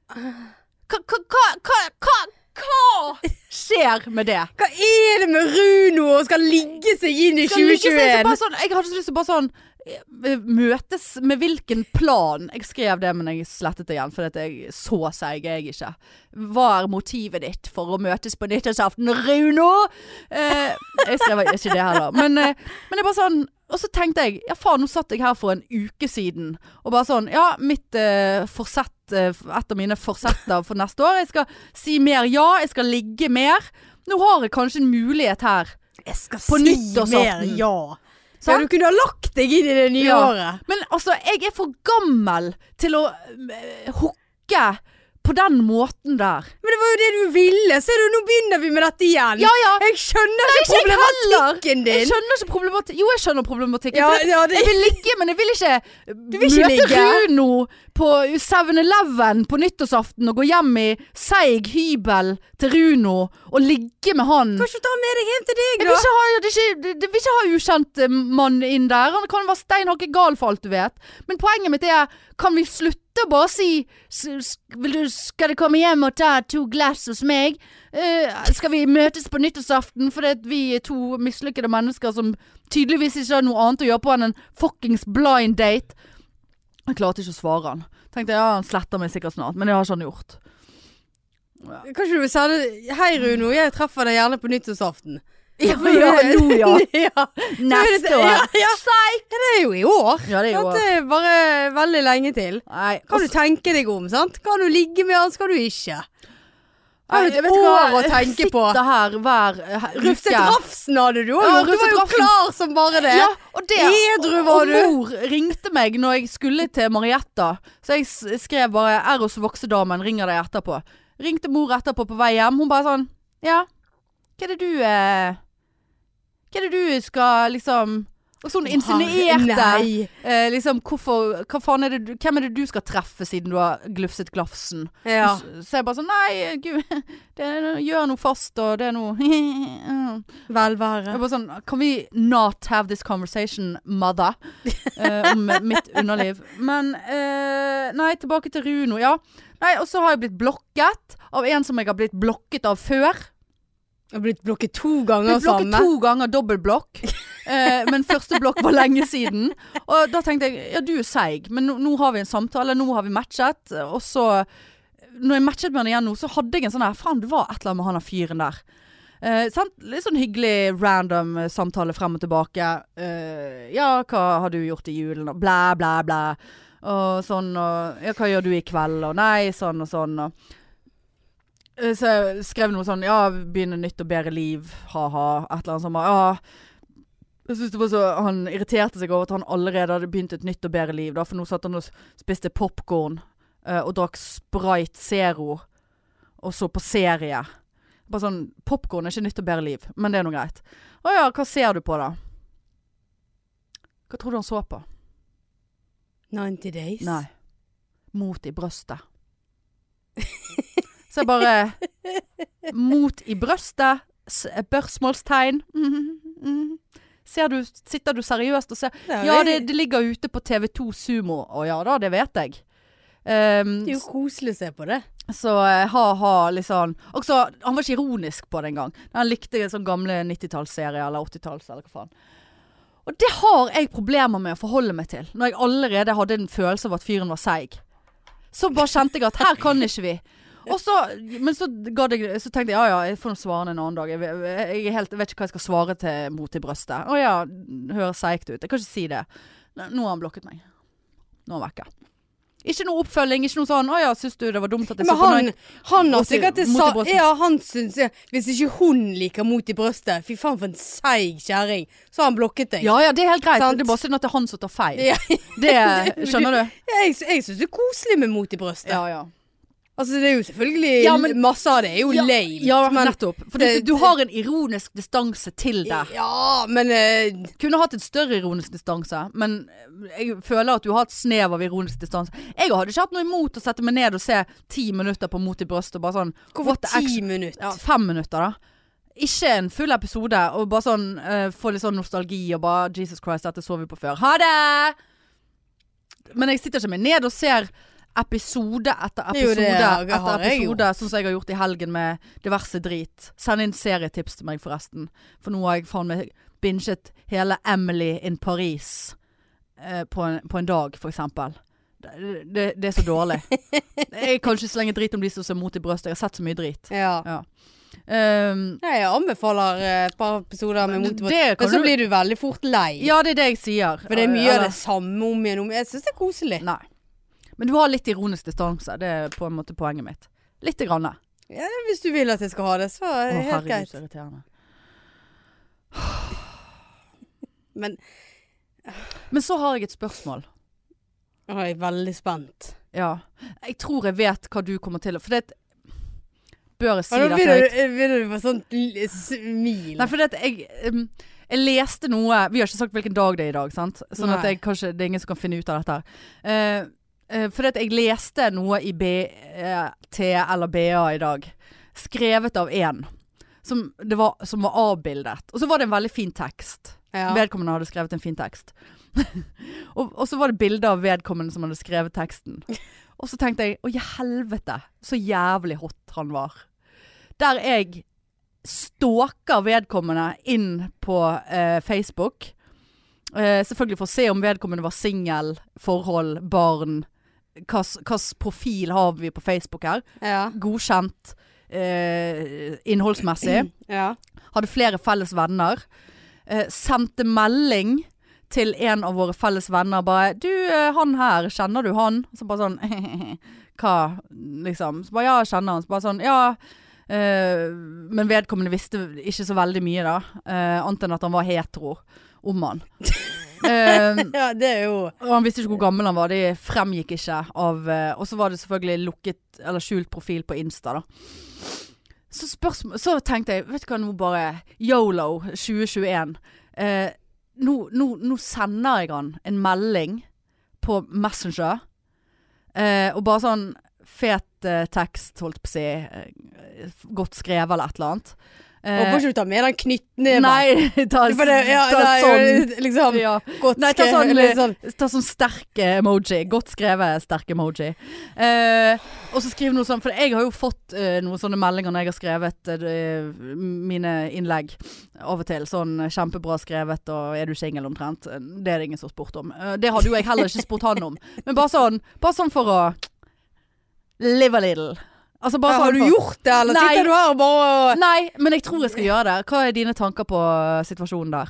[SPEAKER 1] Hva, hva, hva, hva, hva, hva skjer med det?
[SPEAKER 2] Hva er det med Runo og skal ligge seg inn i
[SPEAKER 1] Skal lykkes, jeg, så
[SPEAKER 2] 2021?
[SPEAKER 1] bare sånn, jeg hadde så lyst til bare sånn eh, Møtes med hvilken plan? Jeg skrev det, men jeg slettet det igjen. For at jeg så seig er jeg ikke. Hva er motivet ditt for å møtes på nyttårsaften, Runo? Eh, jeg skrev ikke det heller. Men, eh, men det er bare sånn Og så tenkte jeg ja faen, nå satt jeg her for en uke siden og bare sånn Ja, mitt eh, forsett eh, Et av mine forsetter for neste år. Jeg skal si mer ja, jeg skal ligge mer. Nå har jeg kanskje en mulighet her.
[SPEAKER 2] Jeg skal
[SPEAKER 1] På
[SPEAKER 2] si mer
[SPEAKER 1] nyttårsaften.
[SPEAKER 2] sånn. ja. Så
[SPEAKER 1] Sant?
[SPEAKER 2] du kunne ha lagt deg inn i det nye
[SPEAKER 1] Ja.
[SPEAKER 2] året.
[SPEAKER 1] Men altså, jeg er for gammel til å eh, hooke på den måten der.
[SPEAKER 2] Men det var jo det du ville. Ser du, nå begynner vi med dette igjen.
[SPEAKER 1] Ja ja,
[SPEAKER 2] Jeg skjønner ikke
[SPEAKER 1] ikke jeg jeg
[SPEAKER 2] problematikken din.
[SPEAKER 1] skjønner ikke problematikken. Jo, jeg skjønner problematikken.
[SPEAKER 2] Ja,
[SPEAKER 1] for det-
[SPEAKER 2] ja, det-
[SPEAKER 1] Jeg vil ligge, men jeg vil ikke
[SPEAKER 2] vil ikke
[SPEAKER 1] møte
[SPEAKER 2] ligge.
[SPEAKER 1] Runo på 7-Eleven på nyttårsaften og gå hjem i seig hybel til Runo og ligge med han.
[SPEAKER 2] Kan ikke du ta med deg hjem til deg,
[SPEAKER 1] Jeg vil
[SPEAKER 2] da?
[SPEAKER 1] ikke ha, det er ikke, det- det vil ikke ha ukjent eh, mann inn der. Han kan være steinhakke gal for alt du vet. Men poenget mitt er, kan vi slutte å bare si s- s- vil du, Skal du komme hjem og ta to glass hos meg? Eh, skal vi møtes på nyttårsaften fordi at vi er to mislykkede mennesker som tydeligvis ikke har noe annet å gjøre på enn en fuckings blind date? Jeg klarte ikke å svare han. Tenkte ja, han sletter meg sikkert snart, men det har ikke han gjort.
[SPEAKER 2] Kanskje du vil sende Hei, Runo. Jeg treffer deg gjerne på nyttårsaften.
[SPEAKER 1] Ja, ja, nå, ja.
[SPEAKER 2] ja.
[SPEAKER 1] Neste
[SPEAKER 2] Ja,
[SPEAKER 1] år.
[SPEAKER 2] ja. Det er jo i år.
[SPEAKER 1] Ja, det er jo
[SPEAKER 2] Sant? Det er bare veldig lenge til.
[SPEAKER 1] Nei,
[SPEAKER 2] Kan du tenke deg om, sant? Kan du ligge med han, skal du ikke? Har
[SPEAKER 1] Nei,
[SPEAKER 2] du
[SPEAKER 1] jeg
[SPEAKER 2] et
[SPEAKER 1] vet ikke
[SPEAKER 2] år
[SPEAKER 1] hva
[SPEAKER 2] å tenke på?
[SPEAKER 1] Sitter her hver eh, he-
[SPEAKER 2] Rufset
[SPEAKER 1] uke.
[SPEAKER 2] Rafsen hadde du òg
[SPEAKER 1] Ja,
[SPEAKER 2] gjort. Du var
[SPEAKER 1] Rufset
[SPEAKER 2] jo
[SPEAKER 1] Rafsen.
[SPEAKER 2] klar som bare det.
[SPEAKER 1] Ja, og det
[SPEAKER 2] Edru var
[SPEAKER 1] og,
[SPEAKER 2] du.
[SPEAKER 1] og mor ringte meg når jeg skulle til Marietta. Så jeg s- skrev bare 'Er hos voksedamen, ringer deg etterpå'. Ringte mor etterpå på vei hjem. Hun bare sånn 'Ja, hva er det du eh, Hva er det du skal liksom Og så hun insinuerte
[SPEAKER 2] Nei.
[SPEAKER 1] eh, liksom hvorfor hva faen er det, du- Hvem er det du skal treffe siden du har glufset glafsen?
[SPEAKER 2] Ja.
[SPEAKER 1] Så- Så jeg bare sånn Nei, gud, det er noe, gjør noe fast, og det er noe
[SPEAKER 2] Velvære.
[SPEAKER 1] Jeg bare sånn Kan vi not have this conversation, mother? Eh, om mitt underliv. Men eh, Nei, tilbake til Runo, ja. Nei, og så har jeg blitt blokket av en som jeg har blitt blokket av før.
[SPEAKER 2] Jeg har blitt blokket to ganger
[SPEAKER 1] Blitt blokket
[SPEAKER 2] samme.
[SPEAKER 1] to ganger dobbeltblokk. Eh, men første blokk var lenge siden. Og da tenkte jeg ja, du er seig, men nå, nå har vi en samtale, nå har vi matchet. Og så, når jeg matchet med han igjen nå, så hadde jeg en sånn her Faen, det var et eller annet med han der fyren der. Eh, sant? Litt sånn hyggelig random eh, samtale frem og tilbake. Eh, ja, hva har du gjort i julen? Og blæ, blæ, blæ. Og sånn og Ja, hva gjør du i kveld? Og nei, sånn og sånn. Og Eh, Så jeg skrev noe sånn Ja, begynne nytt og bedre liv, ha-ha. Et eller annet sånt. bare, Ja. Jeg synes det var så, Han irriterte seg over at han allerede hadde begynt et nytt og bedre liv. Da, for nå satt han og s- spiste popkorn og drakk Sprite Zero og så på serie. Bare sånn Popkorn er ikke nytt og bedre liv, men det er nå greit. Å ja, hva ser du på, da? Hva tror du han så på?
[SPEAKER 2] 90 days.
[SPEAKER 1] Nei. Mot i brøstet. Så jeg bare Mot i brøstet? s- Spørsmålstegn. Mhm, mhm. Ser du, sitter du seriøst og ser Ja, det, det ligger ute på TV2 Sumo. Å ja da, det vet jeg. Ehm,
[SPEAKER 2] det er jo koselig å se på det.
[SPEAKER 1] så eh, ha-ha, litt sånn. Også, han var ikke ironisk på det engang. Han likte sånn gamle 90-tallsserie eller 80-talls eller hva faen. Og det har jeg problemer med å forholde meg til, når jeg allerede hadde en følelse av at fyren var seig. Så bare kjente jeg at her kan ikke vi. Og så, men så, gadd jeg, så tenkte jeg ja ja, jeg får nå svare en annen dag. Jeg, jeg, jeg, er helt, jeg vet ikke hva jeg skal svare til mot i brøstet. Å ja, høres seigt ut. Jeg kan ikke si det. N- Nå har han blokket meg. Nå er han vekke. Ikke noe oppfølging, ikke noe sånn 'Å ja, syns du det var dumt at jeg så
[SPEAKER 2] Men
[SPEAKER 1] på
[SPEAKER 2] han,
[SPEAKER 1] nøy-
[SPEAKER 2] han har
[SPEAKER 1] Mot i-
[SPEAKER 2] sikkert det
[SPEAKER 1] mot i
[SPEAKER 2] sa
[SPEAKER 1] brøstet.
[SPEAKER 2] Ja, han syns ja, Hvis ikke hun liker mot i brøstet Fy faen for en seig kjerring. Så har han blokket deg.
[SPEAKER 1] Ja ja, det er helt greit.
[SPEAKER 2] Sant.
[SPEAKER 1] Det er bare synd at det er han som tar feil.
[SPEAKER 2] Ja.
[SPEAKER 1] Det skjønner du.
[SPEAKER 2] Jeg, jeg syns det er koselig med mot i brøstet.
[SPEAKER 1] Ja ja.
[SPEAKER 2] Altså, det er jo selvfølgelig
[SPEAKER 1] Ja, men-
[SPEAKER 2] Masse av det er jo
[SPEAKER 1] Ja,
[SPEAKER 2] lame.
[SPEAKER 1] Ja,
[SPEAKER 2] men,
[SPEAKER 1] nettopp. For
[SPEAKER 2] det-
[SPEAKER 1] du, du har en ironisk distanse til det.
[SPEAKER 2] ja, men eh,
[SPEAKER 1] Kunne hatt en større ironisk distanse, men eh, jeg føler at du har et snev av ironisk distanse. Jeg hadde ikke hatt noe imot å sette meg ned og se ti minutter på Mot i brøstet og bare sånn
[SPEAKER 2] Hvorfor
[SPEAKER 1] what the
[SPEAKER 2] ti
[SPEAKER 1] action-
[SPEAKER 2] minutter?
[SPEAKER 1] Ja, fem minutter, da. Ikke en full episode, og bare sånn eh, få litt sånn nostalgi og bare Jesus Christ, dette så vi på før. Ha det! Men jeg sitter ikke meg ned og ser episode etter
[SPEAKER 2] Det er jo
[SPEAKER 1] episode
[SPEAKER 2] det jeg har,
[SPEAKER 1] etter
[SPEAKER 2] jeg
[SPEAKER 1] episode, sånn som jeg har gjort i helgen med diverse drit. Send inn serietips til meg, forresten. For nå har jeg faen meg binget hele Emily in Paris eh, på, en, på en dag, for eksempel. Det, det, det er så dårlig. Jeg kan ikke slenge drit om de som ser mot i brøstet. Jeg har sett så mye drit.
[SPEAKER 2] Ja.
[SPEAKER 1] Ehm,
[SPEAKER 2] Nei, jeg anbefaler eh, et par episoder med mot i
[SPEAKER 1] Det
[SPEAKER 2] brøstet.
[SPEAKER 1] kan
[SPEAKER 2] Men så
[SPEAKER 1] du-
[SPEAKER 2] blir du veldig fort lei.
[SPEAKER 1] ja, det er det jeg sier.
[SPEAKER 2] For det er mye av
[SPEAKER 1] Eller-
[SPEAKER 2] det samme om igjen om. Jeg syns det er koselig.
[SPEAKER 1] Nei. Men du har litt ironisk distanse. Det er på en måte poenget mitt. Lite grann. Å,
[SPEAKER 2] Ja, hvis du vil at jeg skal ha det, så er det helt
[SPEAKER 1] herregud,
[SPEAKER 2] greit.
[SPEAKER 1] så irriterende.
[SPEAKER 2] Men
[SPEAKER 1] Men så har jeg et spørsmål.
[SPEAKER 2] Nå er jeg veldig spent.
[SPEAKER 1] Ja. Jeg tror jeg vet hva du kommer til å For det Bør jeg si
[SPEAKER 2] Ja, nå
[SPEAKER 1] dette høyt?
[SPEAKER 2] begynner du- begynner du med sånt l- smil.
[SPEAKER 1] Nei, for det at jeg, um, jeg leste noe Vi har ikke sagt hvilken dag det er i dag, sant? Sånn at
[SPEAKER 2] Nei.
[SPEAKER 1] jeg, kanskje, det er ingen som kan finne ut av dette. her. Eh, eh, for det at jeg leste noe i BT eller BA i dag, skrevet av én, som, det var- som var avbildet. Og så var det en veldig fin tekst.
[SPEAKER 2] ja.
[SPEAKER 1] Vedkommende hadde skrevet en fin tekst. og, og så var det bilde av vedkommende som hadde skrevet teksten. Og så tenkte jeg å ja, helvete, så jævlig hot han var. Der jeg stalker vedkommende inn på eh, Facebook. Eh, selvfølgelig for å se om vedkommende var singel, forhold, barn. Hvilken profil har vi på Facebook her?
[SPEAKER 2] ja.
[SPEAKER 1] Godkjent eh, innholdsmessig
[SPEAKER 2] ja.
[SPEAKER 1] hadde flere felles venner. Eh, sendte melding til en av våre felles venner bare 'Du, eh, han her, kjenner du han?' Så bare sånn Hva, liksom? Så bare 'Ja, jeg kjenner han'. Så bare sånn 'Ja'. eh, men vedkommende visste ikke så veldig mye, da. Eh, annet enn at han var hetero om han. Eh,
[SPEAKER 2] ja, det er jo
[SPEAKER 1] og han visste ikke hvor gammel han var, det fremgikk ikke av eh, Og så var det selvfølgelig lukket eller skjult profil på Insta, da. Så, spørsmål, så tenkte jeg, vet du hva, nå bare Yolo 2021. Eh, nå, nå, nå sender jeg han en melding på Messenger, eh, og bare sånn fet eh, tekst, holdt på å si, eh, godt skrevet eller et eller annet. Eh,
[SPEAKER 2] Håper ikke du tar med den knyttneven.
[SPEAKER 1] Nei, ta,
[SPEAKER 2] For det, ja,
[SPEAKER 1] ta
[SPEAKER 2] nei,
[SPEAKER 1] sånn.
[SPEAKER 2] Liksom,
[SPEAKER 1] Ja.
[SPEAKER 2] godt
[SPEAKER 1] Nei, ta
[SPEAKER 2] skrevet,
[SPEAKER 1] sånn-
[SPEAKER 2] eller sånn.
[SPEAKER 1] Ta sånn sterk eh, emoji. Godt skrevet sterk emoji. Eh, og så skriv noe sånn, for jeg har jo fått eh, noen sånne meldinger når jeg har skrevet eh, mine innlegg av og til. Sånn eh, kjempebra skrevet og 'er du singel?' omtrent. Eh, Det er det ingen som har spurt om. Eh, det hadde jo jeg heller ikke spurt han om. Men bare sånn, bare sånn for å live a little. Altså bare
[SPEAKER 2] Ja,
[SPEAKER 1] sånn
[SPEAKER 2] har du
[SPEAKER 1] for-
[SPEAKER 2] gjort det, eller
[SPEAKER 1] Nei.
[SPEAKER 2] sitter du her og bare og
[SPEAKER 1] Nei, men jeg tror jeg skal gjøre det. Hva er dine tanker på eh, situasjonen der?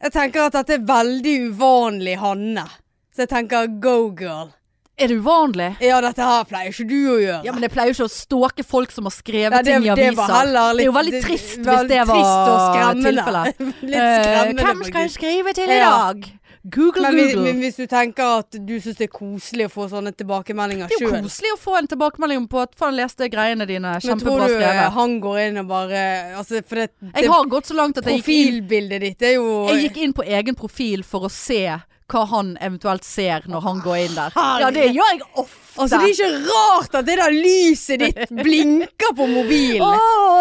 [SPEAKER 2] Jeg tenker at dette er veldig uvanlig Hanne. Så jeg tenker go girl.
[SPEAKER 1] Er det uvanlig?
[SPEAKER 2] Ja, dette her pleier ikke du å gjøre.
[SPEAKER 1] Ja, men jeg pleier jo ikke å stalke folk som har skrevet
[SPEAKER 2] Nei, det,
[SPEAKER 1] ting i
[SPEAKER 2] det
[SPEAKER 1] aviser.
[SPEAKER 2] var heller
[SPEAKER 1] det er
[SPEAKER 2] litt
[SPEAKER 1] jo veldig
[SPEAKER 2] det-
[SPEAKER 1] trist hvis
[SPEAKER 2] veldig
[SPEAKER 1] det
[SPEAKER 2] trist og
[SPEAKER 1] var
[SPEAKER 2] skremmende.
[SPEAKER 1] tilfellet.
[SPEAKER 2] litt skremmende,
[SPEAKER 1] Eh, Hvem skal jeg
[SPEAKER 2] faktisk.
[SPEAKER 1] skrive til i
[SPEAKER 2] Ja.
[SPEAKER 1] dag? Google,
[SPEAKER 2] men, hvis-
[SPEAKER 1] Google.
[SPEAKER 2] men hvis du tenker at du syns det er koselig å få sånne tilbakemeldinger
[SPEAKER 1] det er jo
[SPEAKER 2] sjøl
[SPEAKER 1] koselig å få en tilbakemelding på at faen, jeg leste greiene dine.
[SPEAKER 2] Men tror
[SPEAKER 1] Kjempebra
[SPEAKER 2] du eh,
[SPEAKER 1] skrevet.
[SPEAKER 2] han går inn og bare altså, For det, det
[SPEAKER 1] Jeg har gått så langt at jeg gikk, inn,
[SPEAKER 2] profilbildet ditt er jo
[SPEAKER 1] jeg gikk inn på egen profil for å se hva han eventuelt ser når han går inn der.
[SPEAKER 2] Herre.
[SPEAKER 1] Ja, det gjør jeg ofte.
[SPEAKER 2] Altså, det er ikke rart at det der lyset ditt blinker på
[SPEAKER 1] Å,
[SPEAKER 2] mobilen.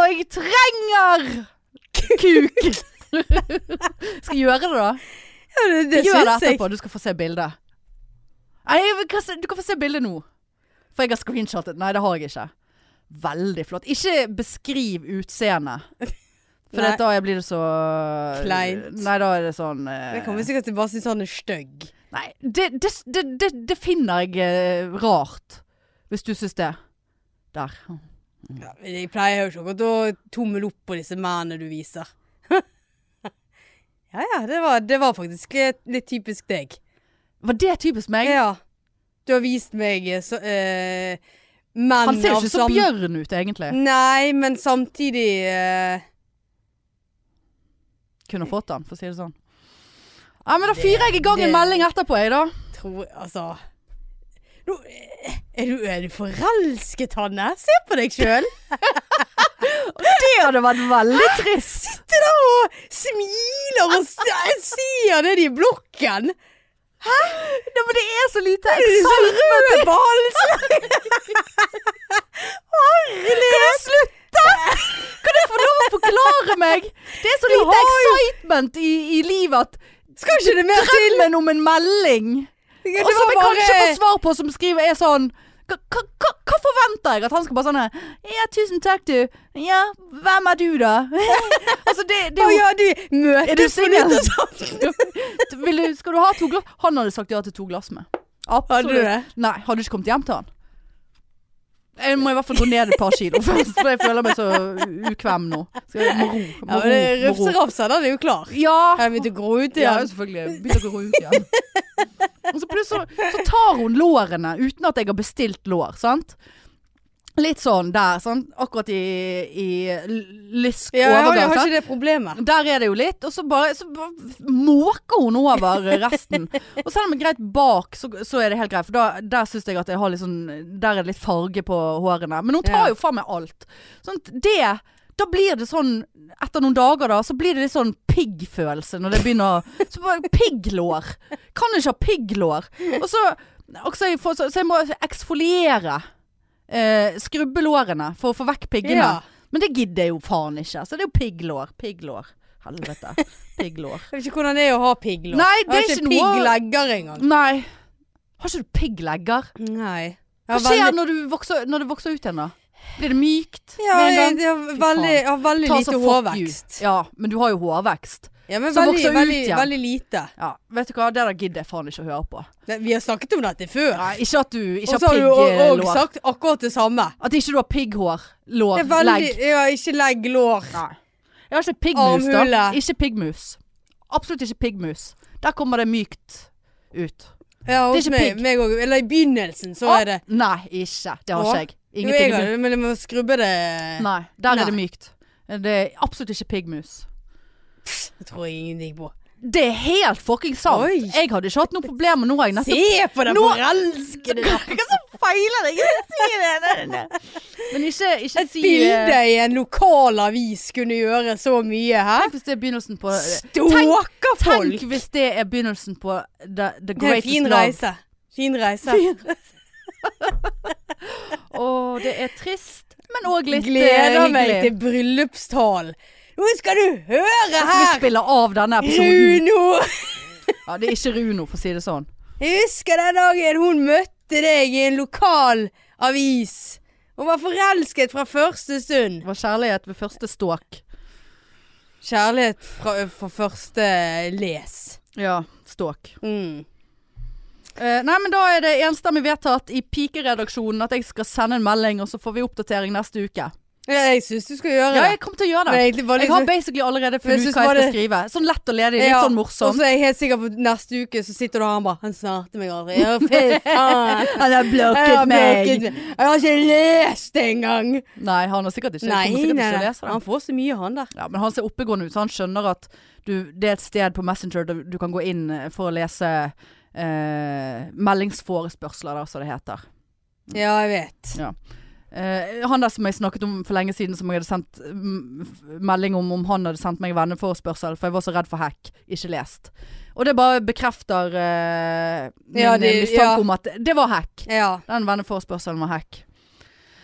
[SPEAKER 1] jeg trenger kuk! skal jeg gjøre det, da?
[SPEAKER 2] Ja, det det
[SPEAKER 1] Gjør det
[SPEAKER 2] syns jeg.
[SPEAKER 1] etterpå, du skal få se bildet. Nei, jeg vil- hva se- du kan få se bildet nå. For jeg har screenshotet. Nei, det har jeg ikke. Veldig flott. Ikke beskriv utseendet. For
[SPEAKER 2] Nei.
[SPEAKER 1] at da blir det så eh,
[SPEAKER 2] Kleint.
[SPEAKER 1] Nei, da er det sånn eh,
[SPEAKER 2] Det kommer sikkert til bare synes han er stygg.
[SPEAKER 1] Nei, det, det, det, det, det finner jeg eh, rart. Hvis du syns det. Der.
[SPEAKER 2] Ja, men jeg pleier jo ikke akkurat å tommel opp på disse mennene du viser. ja ja, det var, det var faktisk litt, litt typisk deg.
[SPEAKER 1] Var det typisk meg?
[SPEAKER 2] Ja. Du har vist meg eh, så, eh, menn
[SPEAKER 1] Han ser jo ikke så
[SPEAKER 2] sam-
[SPEAKER 1] bjørn ut, egentlig.
[SPEAKER 2] Nei, men samtidig eh,
[SPEAKER 1] Kunne fått han, for å si det sånn. Ja, men da fyrer jeg i gang en
[SPEAKER 2] det-
[SPEAKER 1] melding etterpå, jeg, da.
[SPEAKER 2] Tror Altså Nå, eh, er, du, er du forelsket, Hanne? Se på deg sjøl!
[SPEAKER 1] Det hadde vært veldig trist.
[SPEAKER 2] Sitter der og smiler og s- jeg ser det i blokken!
[SPEAKER 1] Ja, men det er så lite
[SPEAKER 2] Du er så
[SPEAKER 1] eksamen.
[SPEAKER 2] rød på halsen!
[SPEAKER 1] Kan du slutte? Kan du få lov å forklare meg? Det er så
[SPEAKER 2] Du
[SPEAKER 1] lite
[SPEAKER 2] har jo-
[SPEAKER 1] excitement i, i livet at
[SPEAKER 2] Skal ikke det mer til?
[SPEAKER 1] Drømmen om en melding.
[SPEAKER 2] Det
[SPEAKER 1] Og
[SPEAKER 2] var
[SPEAKER 1] som jeg
[SPEAKER 2] bare-
[SPEAKER 1] kanskje får svar på, som skriver er sånn hva, hva, hva- hva forventer jeg? At han skal bare sånn her, Ja, tusen takk, du. Ja, hvem er du, da? altså, det, det
[SPEAKER 2] Å
[SPEAKER 1] er jo
[SPEAKER 2] ja, du møtes
[SPEAKER 1] Er du
[SPEAKER 2] på sånn.
[SPEAKER 1] singel?
[SPEAKER 2] nyttårsaften.
[SPEAKER 1] Vil du, Skal du ha to glass? Han hadde sagt ja til to glass med.
[SPEAKER 2] Hadde du det?
[SPEAKER 1] Nei, hadde ikke kommet hjem til han. Jeg må i hvert fall gå ned et par kilo først, for jeg føler meg så ukvem nå. Skal jeg må ro,
[SPEAKER 2] Ja,
[SPEAKER 1] må
[SPEAKER 2] men det
[SPEAKER 1] ro, må ro.
[SPEAKER 2] Rufserafsa, den er jo klar.
[SPEAKER 1] Ja,
[SPEAKER 2] Jeg begynte å gro ut
[SPEAKER 1] ja,
[SPEAKER 2] igjen.
[SPEAKER 1] selvfølgelig. Begynte å gå ut igjen. Og så plutselig så, så tar hun lårene uten at jeg har bestilt lår, sant? Litt sånn der, sånn akkurat i, i lysk
[SPEAKER 2] Ja, jeg har, jeg
[SPEAKER 1] overgang.
[SPEAKER 2] har
[SPEAKER 1] sant?
[SPEAKER 2] ikke det problemet.
[SPEAKER 1] Der er det jo litt, og så bare så bare måker hun over resten. og selv om det er greit bak, så, så er det helt greit, for da, der syns jeg at jeg har litt sånn Der er det litt farge på hårene. Men hun tar
[SPEAKER 2] Ja.
[SPEAKER 1] jo faen meg alt. Sånn at det Da blir det sånn Etter noen dager, da, så blir det litt sånn piggfølelse når det begynner å Så bare pigglår. Kan ikke ha pigglår. Og så og så, jeg får, så, så jeg må eksfoliere eh, skrubbelårene for å få vekk piggene.
[SPEAKER 2] Ja.
[SPEAKER 1] Men det gidder jeg jo faen ikke. Så det er jo pigglår. Pigglår. Helvete. Pigglår.
[SPEAKER 2] Jeg vet ikke hvordan det er å ha pigglår.
[SPEAKER 1] Nei, det er
[SPEAKER 2] jeg har
[SPEAKER 1] ikke
[SPEAKER 2] ikke
[SPEAKER 1] noe-
[SPEAKER 2] pigglegger engang.
[SPEAKER 1] Nei. Har ikke du pigglegger?
[SPEAKER 2] Nei. Jeg
[SPEAKER 1] Hva
[SPEAKER 2] har
[SPEAKER 1] skjer
[SPEAKER 2] veldig,
[SPEAKER 1] når du vokser, når det vokser ut igjen, da? Blir det mykt
[SPEAKER 2] ja,
[SPEAKER 1] med en
[SPEAKER 2] jeg,
[SPEAKER 1] gang?
[SPEAKER 2] jeg har veldig, jeg har veldig
[SPEAKER 1] Ta så
[SPEAKER 2] lite
[SPEAKER 1] fuck
[SPEAKER 2] hårvekst.
[SPEAKER 1] you. Ja, men du har jo hårvekst.
[SPEAKER 2] Ja, men
[SPEAKER 1] Som
[SPEAKER 2] veldig,
[SPEAKER 1] vokser ut
[SPEAKER 2] veldig,
[SPEAKER 1] igjen.
[SPEAKER 2] veldig lite.
[SPEAKER 1] Ja, vet du hva, det der gidder jeg faen ikke å høre på.
[SPEAKER 2] Nei, Vi har snakket om dette før.
[SPEAKER 1] Nei, ikke at du
[SPEAKER 2] Og
[SPEAKER 1] ikke
[SPEAKER 2] så har du
[SPEAKER 1] har
[SPEAKER 2] òg
[SPEAKER 1] pigglår.
[SPEAKER 2] sagt akkurat det samme.
[SPEAKER 1] At ikke du har pigghår. Lår.
[SPEAKER 2] Det er veldig,
[SPEAKER 1] Legg.
[SPEAKER 2] ja, ikke legg, lår.
[SPEAKER 1] Nei. Jeg har ikke piggmus, da.
[SPEAKER 2] Armhule.
[SPEAKER 1] Ikke piggmus. Absolutt ikke piggmus. Der kommer det mykt ut.
[SPEAKER 2] Ja,
[SPEAKER 1] Det er
[SPEAKER 2] hos
[SPEAKER 1] ikke
[SPEAKER 2] meg,
[SPEAKER 1] pigg.
[SPEAKER 2] meg og, eller i begynnelsen så er det
[SPEAKER 1] Nei, ikke. Det har
[SPEAKER 2] Å.
[SPEAKER 1] ikke jeg.
[SPEAKER 2] Jo, jeg
[SPEAKER 1] Ingenting.
[SPEAKER 2] har det, men jeg må skrubbe det
[SPEAKER 1] Nei, der
[SPEAKER 2] Nei.
[SPEAKER 1] er det mykt. Det er absolutt ikke piggmus.
[SPEAKER 2] Det tror jeg ingenting på.
[SPEAKER 1] Det er helt fucking sant.
[SPEAKER 2] Oi.
[SPEAKER 1] Jeg hadde ikke hatt noe problem med noe jeg nettopp
[SPEAKER 2] Se på den
[SPEAKER 1] Nå-
[SPEAKER 2] forelskede der.
[SPEAKER 1] Hva som feiler deg? Men ikke, ikke
[SPEAKER 2] Et
[SPEAKER 1] si
[SPEAKER 2] bilde
[SPEAKER 1] eh,
[SPEAKER 2] i en lokal avis kunne gjøre så mye, hæ?
[SPEAKER 1] Tenk hvis det er begynnelsen på
[SPEAKER 2] Ståker
[SPEAKER 1] Tenk
[SPEAKER 2] folk!
[SPEAKER 1] hvis det er begynnelsen på The, the
[SPEAKER 2] Det er en
[SPEAKER 1] Greatest
[SPEAKER 2] fin
[SPEAKER 1] Love.
[SPEAKER 2] reise. Fin reise.
[SPEAKER 1] Og det er trist, men òg litt eh,
[SPEAKER 2] Gleder meg
[SPEAKER 1] hyggelig.
[SPEAKER 2] til bryllupstalen. Nå skal du høre
[SPEAKER 1] Skal vi
[SPEAKER 2] her,
[SPEAKER 1] spille av denne episoden?
[SPEAKER 2] Runo!
[SPEAKER 1] Ja, det er ikke Runo, for å si det sånn.
[SPEAKER 2] Jeg husker den dagen hun møtte deg i en lokal avis. Hun var forelsket fra første stund.
[SPEAKER 1] Det var kjærlighet ved første ståk.
[SPEAKER 2] Kjærlighet fra, fra første les.
[SPEAKER 1] Ja, ståk.
[SPEAKER 2] Mm.
[SPEAKER 1] Eh, nei, men da er det enstemmig vedtatt i pikeredaksjonen at jeg skal sende en melding, og så får vi oppdatering neste uke.
[SPEAKER 2] Ja, jeg syns du skal gjøre
[SPEAKER 1] Ja,
[SPEAKER 2] det.
[SPEAKER 1] jeg kommer til å gjøre
[SPEAKER 2] Men
[SPEAKER 1] det.
[SPEAKER 2] egentlig var det
[SPEAKER 1] Jeg har basically allerede Men jeg funnet ut
[SPEAKER 2] liksom- synes
[SPEAKER 1] hva jeg
[SPEAKER 2] bare-
[SPEAKER 1] skal skrive. Sånn lett og ledig, litt
[SPEAKER 2] Ja,
[SPEAKER 1] sånn
[SPEAKER 2] Og
[SPEAKER 1] morsom.
[SPEAKER 2] så er jeg helt sikker på at neste uke så sitter du og han bare Han snarte meg aldri. Ja, fy faen.
[SPEAKER 1] Han har
[SPEAKER 2] Jeg har blokket meg. Jeg har ikke lest det engang.
[SPEAKER 1] Nei, han har sikkert ikke.
[SPEAKER 2] Nei,
[SPEAKER 1] jeg kommer sikkert
[SPEAKER 2] nei,
[SPEAKER 1] ikke til å
[SPEAKER 2] nei.
[SPEAKER 1] lese
[SPEAKER 2] Han
[SPEAKER 1] den.
[SPEAKER 2] får så mye, han der.
[SPEAKER 1] Ja, men han ser oppegående ut, så han skjønner at du, det er et sted på Messenger du, du kan gå inn eh, for å lese eh, meldingsforespørsler, da, som det heter.
[SPEAKER 2] Ja, jeg vet.
[SPEAKER 1] Eh, han der som jeg snakket om for lenge siden, som jeg hadde sendt mm, f- melding om om han hadde sendt meg venneforespørsel, for jeg var så redd for hack. Ikke lest. Og det bare bekrefter eh, min
[SPEAKER 2] Ja,
[SPEAKER 1] eh,
[SPEAKER 2] det-
[SPEAKER 1] mistanke
[SPEAKER 2] ja.
[SPEAKER 1] om at det var hack.
[SPEAKER 2] Ja,
[SPEAKER 1] Den venneforespørselen var hack.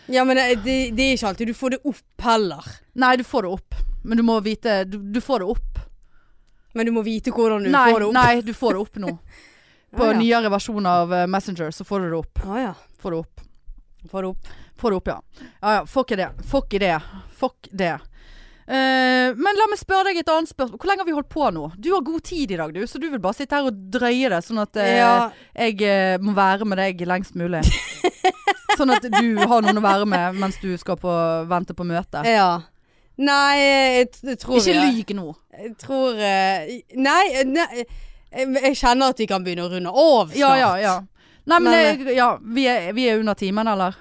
[SPEAKER 2] ja men det, det, det er ikke alltid du får det opp heller.
[SPEAKER 1] Nei, du får det opp. Men du må vite Du, du får det opp.
[SPEAKER 2] Men du må vite hvordan du
[SPEAKER 1] nei,
[SPEAKER 2] får det opp.
[SPEAKER 1] nei, du får det opp nå. På
[SPEAKER 2] Ah, ja.
[SPEAKER 1] nyere versjon av eh, Messenger så får du det opp.
[SPEAKER 2] Ah, ja.
[SPEAKER 1] Får det opp.
[SPEAKER 2] Får det opp.
[SPEAKER 1] Få det opp, ja. Ja ja, fuck i det. Fuck i det. Fuck det. Eh, men la meg spørre deg et annet spørsmål. Hvor lenge har vi holdt på nå? Du har god tid i dag, du, så du vil bare sitte her og drøye det, sånn at eh,
[SPEAKER 2] Ja.
[SPEAKER 1] jeg eh, må være med deg lengst mulig. Sånn at du har noen å være med mens du skal på, vente på møte.
[SPEAKER 2] Ja. Nei, jeg, t- jeg tror
[SPEAKER 1] Ikke
[SPEAKER 2] jeg-
[SPEAKER 1] lyg nå.
[SPEAKER 2] Jeg tror eh, Nei, nei jeg, jeg kjenner at vi kan begynne å runde av snart.
[SPEAKER 1] Ja, ja, ja. Nei, men,
[SPEAKER 2] Men,
[SPEAKER 1] jeg, ja, vi, er, vi er under timen, eller?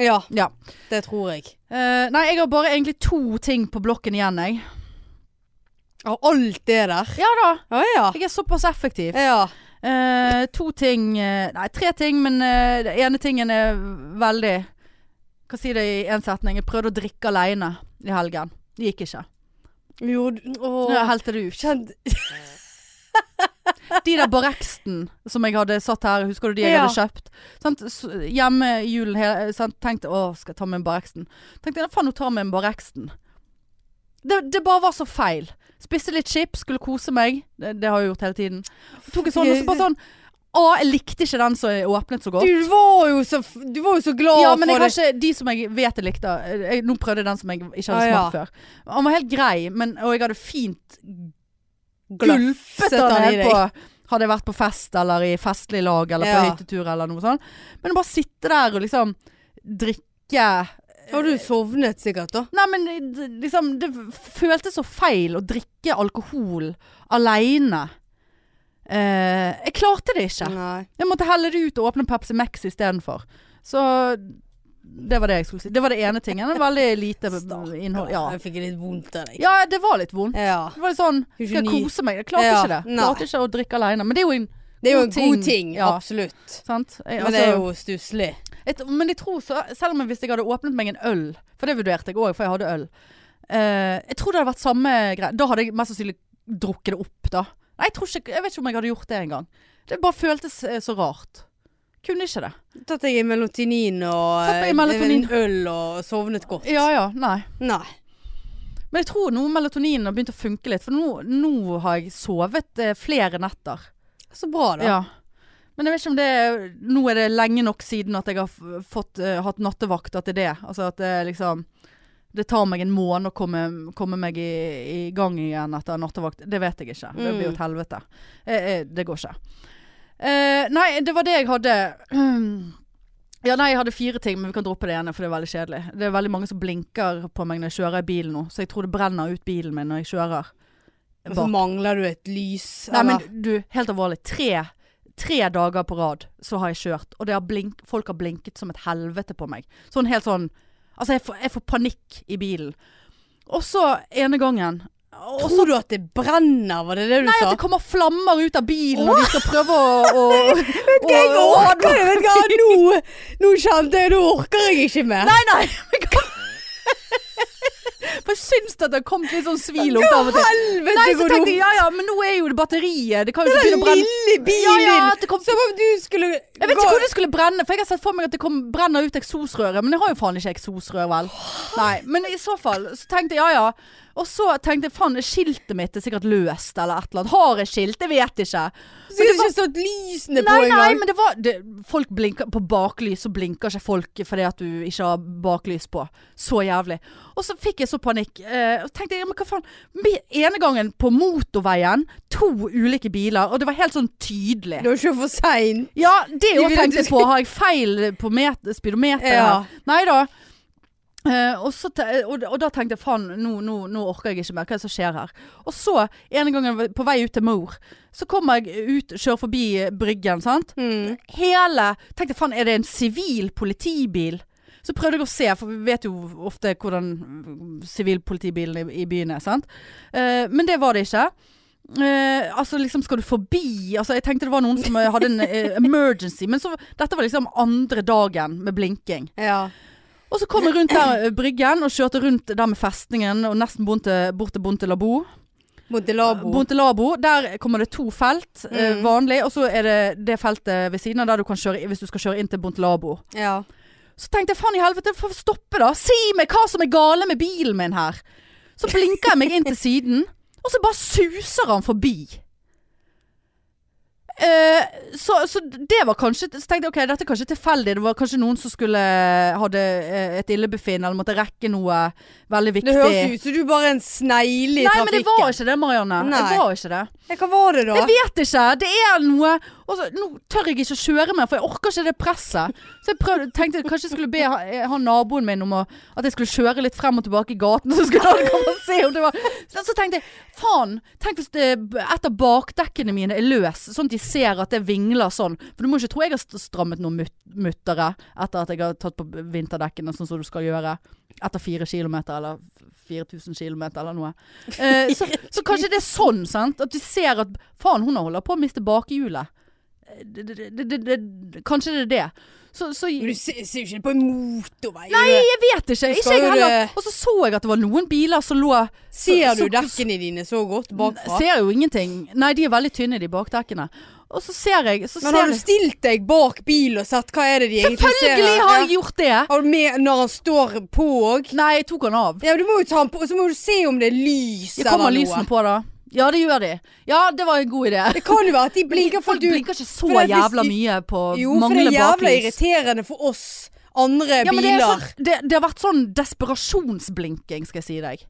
[SPEAKER 2] Ja,
[SPEAKER 1] Ja.
[SPEAKER 2] det tror jeg.
[SPEAKER 1] Eh, nei, jeg har bare egentlig to ting på blokken igjen, jeg.
[SPEAKER 2] Av alt det der.
[SPEAKER 1] Ja da.
[SPEAKER 2] Å ja.
[SPEAKER 1] Jeg er såpass effektiv.
[SPEAKER 2] Ja.
[SPEAKER 1] Eh, to ting eh, Nei, tre ting, men eh, den ene tingen er veldig Hva sier det i én setning? Jeg prøvde å drikke aleine i helgen. Det gikk ikke.
[SPEAKER 2] Jo, du-
[SPEAKER 1] Nå
[SPEAKER 2] åh.
[SPEAKER 1] helte det ut.
[SPEAKER 2] Kjent
[SPEAKER 1] De der Barrexten som jeg hadde satt her, husker du de jeg
[SPEAKER 2] Ja.
[SPEAKER 1] hadde kjøpt? Sant? Så Hjemme i julen he- sant? tenkte å, skal jeg ta med en Barrexten? Tenkte jeg, faen, nå tar jeg med en Barrexten. Det, det bare var så feil. Spiste litt chips, skulle kose meg. Det, det har jeg gjort hele tiden. Tok en sånn, og så bare sånn Å, jeg likte ikke den som jeg åpnet så godt.
[SPEAKER 2] Du var jo så, f- du var jo så glad
[SPEAKER 1] Ja, men jeg
[SPEAKER 2] for
[SPEAKER 1] har
[SPEAKER 2] det.
[SPEAKER 1] ikke de som jeg vet jeg likte. Jeg, nå prøvde jeg den som jeg ikke hadde
[SPEAKER 2] Ah, ja.
[SPEAKER 1] smakt før. Han var helt grei, men, og jeg hadde fint
[SPEAKER 2] Glafset
[SPEAKER 1] gulpet han
[SPEAKER 2] han i
[SPEAKER 1] ned
[SPEAKER 2] deg.
[SPEAKER 1] på Hadde jeg vært på fest eller i festlig lag eller på
[SPEAKER 2] Ja.
[SPEAKER 1] hyttetur eller noe sånt. Men å bare sitte der og liksom drikke
[SPEAKER 2] Har du sovnet sikkert, da?
[SPEAKER 1] Nei, men det- liksom Det føltes så feil å drikke alkohol aleine. Eh, jeg klarte det ikke.
[SPEAKER 2] Nei.
[SPEAKER 1] Jeg måtte helle det ut og åpne Pepsi Max istedenfor. Så det var det jeg skulle si. Det var det ene tingen. Det var Veldig lite innhold. Ja.
[SPEAKER 2] Jeg fikk litt vondt av deg.
[SPEAKER 1] ja, det var litt vondt.
[SPEAKER 2] Ja.
[SPEAKER 1] Det var litt sånn
[SPEAKER 2] Du er
[SPEAKER 1] Skal jeg
[SPEAKER 2] geni.
[SPEAKER 1] kose meg? Jeg klarte
[SPEAKER 2] Ja,
[SPEAKER 1] ikke det.
[SPEAKER 2] nei.
[SPEAKER 1] Klarte ikke å drikke aleine. Men det er jo en
[SPEAKER 2] Det er jo
[SPEAKER 1] God
[SPEAKER 2] en god
[SPEAKER 1] ting.
[SPEAKER 2] ting.
[SPEAKER 1] Ja.
[SPEAKER 2] Absolutt.
[SPEAKER 1] Sant? Jeg,
[SPEAKER 2] Men det er
[SPEAKER 1] altså,
[SPEAKER 2] jo stusslig.
[SPEAKER 1] et, men jeg tror så Selv om jeg- hvis jeg hadde åpnet meg en øl For det vurderte jeg òg, for jeg hadde øl. Eh, jeg tror det hadde vært samme greie. Da hadde jeg mest sannsynlig drukket det opp, da. Nei, jeg, tror ikke, jeg vet ikke om jeg hadde gjort det engang. Det bare føltes eh, så rart. Kunne ikke det.
[SPEAKER 2] Tatt deg i melatonin og
[SPEAKER 1] Tatt meg i
[SPEAKER 2] eh,
[SPEAKER 1] melatonin.
[SPEAKER 2] en øl og sovnet godt.
[SPEAKER 1] Ja ja, nei.
[SPEAKER 2] Nei.
[SPEAKER 1] Men jeg tror nå melatoninen har begynt å funke litt, for nå, nå har jeg sovet eh, flere netter.
[SPEAKER 2] Så bra, da.
[SPEAKER 1] Ja. Men jeg vet ikke om det er Nå er det lenge nok siden at jeg har f- fått, eh, hatt nattevakt at det er det. Altså at det er liksom Det tar meg en måned å komme, komme meg i, i gang igjen etter nattevakt. Det vet jeg ikke. Det blir jo et
[SPEAKER 2] Mm.
[SPEAKER 1] helvete. Eh, eh, det går ikke. Eh, nei, det var det jeg hadde. Ja, nei, jeg hadde fire ting, men vi kan droppe det ene, for det er veldig kjedelig. Det er veldig mange som blinker på meg når jeg kjører i bilen nå, så jeg tror det brenner ut bilen min når jeg kjører.
[SPEAKER 2] Og så mangler du et lys.
[SPEAKER 1] Nei,
[SPEAKER 2] eller-
[SPEAKER 1] men du, helt alvorlig. Tre, tre dager på rad så har jeg kjørt, og det har blink, folk har blinket som et helvete på meg. Sånn helt sånn Altså, jeg får, jeg får panikk i bilen. Og så ene gangen og så
[SPEAKER 2] Tror du at det brenner, var det det du
[SPEAKER 1] Nei, at
[SPEAKER 2] sa?
[SPEAKER 1] det kommer flammer ut av bilen, og de skal prøve å, å Vet
[SPEAKER 2] Jeg orker det, vet du hva. Nå, nå kjente jeg, nå orker jeg ikke mer.
[SPEAKER 1] Nei, nei! men hva- For jeg syns det at det har kommet litt sånn svil opp av og til.
[SPEAKER 2] Helvete,
[SPEAKER 1] Nei, så
[SPEAKER 2] hvor
[SPEAKER 1] tenkte jeg
[SPEAKER 2] dumt.
[SPEAKER 1] ja ja, men nå er jo det batteriet. Det kan jo ikke
[SPEAKER 2] Den
[SPEAKER 1] begynne å brenne.
[SPEAKER 2] lille
[SPEAKER 1] Ja,
[SPEAKER 2] bilen.
[SPEAKER 1] ja, at det kom
[SPEAKER 2] Som om du skulle
[SPEAKER 1] Jeg vet ikke hvor det skulle brenne, for jeg har sett for meg at det kom, brenner ut eksosrøret, men jeg har jo faen ikke eksosrør, vel. Nei, men i så fall, så tenkte jeg ja ja. Og så tenkte jeg faen, skiltet mitt er sikkert løst eller et eller annet. Har jeg skilt? Jeg vet ikke.
[SPEAKER 2] Så det ikke stått lysene på
[SPEAKER 1] Nei, nei,
[SPEAKER 2] engang.
[SPEAKER 1] men det var det, Folk blinker På baklys så blinker ikke folk fordi at du ikke har baklys på. Så jævlig. Og så fikk jeg så panikk. Eh, og tenkte jeg, ja, men hva faen. Med Ene gangen på motorveien, to ulike biler, og det var helt sånn tydelig.
[SPEAKER 2] Det var ikke for seint.
[SPEAKER 1] Ja, det
[SPEAKER 2] De
[SPEAKER 1] òg
[SPEAKER 2] vil-
[SPEAKER 1] tenkte jeg på. Har jeg feil på met- speedometeret?
[SPEAKER 2] Ja.
[SPEAKER 1] Nei da. Eh, og, så te og, og da tenkte jeg faen, nå, nå, nå orker jeg ikke mer. Hva er det som skjer her? Og så, en gang jeg var på vei ut til mor, så kommer jeg ut, kjører forbi eh, Bryggen, sant.
[SPEAKER 2] Mm.
[SPEAKER 1] Hele Tenkte faen, er det en sivil politibil? Så prøvde jeg å se, for vi vet jo ofte hvordan mm, sivilpolitibilen i, i byen er, sant. Eh, men det var det ikke. Eh, altså liksom skal du forbi altså, Jeg tenkte det var noen som eh, hadde en eh, emergency Men så, dette var liksom andre dagen Med blinking
[SPEAKER 2] Ja.
[SPEAKER 1] Og så kom jeg rundt der eh, bryggen Og kjørte rundt der med festningen Og nesten bort til, bort til Bontelabo
[SPEAKER 2] Montelabo.
[SPEAKER 1] Bontelabo, der kommer det to felt eh,
[SPEAKER 2] Mm.
[SPEAKER 1] Vanlig, og så er det det feltet ved siden av Der du kan kjøre, hvis du skal kjøre inn til Bontelabo
[SPEAKER 2] ja.
[SPEAKER 1] så tenkte jeg, faen i helvete, få stoppe da. Si meg hva som er gale med bilen min her. Så blinker jeg meg inn til siden, og så bare suser han forbi. Eh, så, så det var kanskje Så tenkte jeg ok, dette er kanskje tilfeldig. Det var kanskje noen som skulle hadde eh, et illebefinn eller måtte rekke noe veldig viktig.
[SPEAKER 2] Det høres ut som du bare er en snegle
[SPEAKER 1] Nei,
[SPEAKER 2] i trafikken.
[SPEAKER 1] men det var ikke det, Marianne.
[SPEAKER 2] Nei.
[SPEAKER 1] Det var ikke det.
[SPEAKER 2] Ja, Hva var det, da?
[SPEAKER 1] Jeg vet ikke. Det er noe. Og så, nå tør jeg ikke å kjøre mer, for jeg orker ikke det presset. Så jeg prøvde, tenkte kanskje jeg skulle be ha- eh, han naboen min om å, at jeg skulle kjøre litt frem og tilbake i gaten, så skulle han komme og se om det var Så, så tenkte jeg faen, tenk hvis det, et av bakdekkene mine er løs, sånn at de ser at det vingler sånn. For du må ikke tro jeg har st- strammet noen mut muttere etter at jeg har tatt på b- vinterdekkene, sånn som du skal gjøre. Etter fire kilometer, eller f- 4000 kilometer, eller noe. Eh, så, så kanskje det er sånn, sant? At de ser at faen, hun holder på å miste bakhjulet. Eh, det- det- det- det- det- Kanskje det er det. Så, så
[SPEAKER 2] Men du ser ser jo ikke det på en motorvei.
[SPEAKER 1] Nei, jeg vet ikke.
[SPEAKER 2] Du
[SPEAKER 1] Ikke
[SPEAKER 2] skal
[SPEAKER 1] jeg
[SPEAKER 2] jo
[SPEAKER 1] heller.
[SPEAKER 2] det-
[SPEAKER 1] Og så så jeg at det var noen biler som lå
[SPEAKER 2] Ser
[SPEAKER 1] så-
[SPEAKER 2] du dekkene dine så godt bakfra?
[SPEAKER 1] Ser jo ingenting. Nei, de er veldig tynne, de bakdekkene. Og så ser jeg så
[SPEAKER 2] Men
[SPEAKER 1] ser
[SPEAKER 2] har du
[SPEAKER 1] jeg-
[SPEAKER 2] stilt deg bak bil og sett hva er det de egentlig ser?
[SPEAKER 1] Selvfølgelig
[SPEAKER 2] her?
[SPEAKER 1] har
[SPEAKER 2] Ja.
[SPEAKER 1] jeg gjort det!
[SPEAKER 2] Har du med når han står på òg?
[SPEAKER 1] Nei, jeg tok han av.
[SPEAKER 2] Ja, men du må jo ta han på, og så må du se om det er lys
[SPEAKER 1] De
[SPEAKER 2] eller
[SPEAKER 1] kommer
[SPEAKER 2] noe.
[SPEAKER 1] lysene på da. Ja, det gjør de. Ja, det var en god idé.
[SPEAKER 2] Det kan jo være at de blinker for
[SPEAKER 1] Folk
[SPEAKER 2] du
[SPEAKER 1] blinker ikke så
[SPEAKER 2] for det er hvis
[SPEAKER 1] jævla
[SPEAKER 2] de-
[SPEAKER 1] mye på
[SPEAKER 2] Jo, for det
[SPEAKER 1] manglende
[SPEAKER 2] er jævla
[SPEAKER 1] baklys.
[SPEAKER 2] irriterende for oss andre
[SPEAKER 1] Ja, men det, er
[SPEAKER 2] biler.
[SPEAKER 1] sånn, det, det har vært sånn desperasjonsblinking, skal jeg si deg.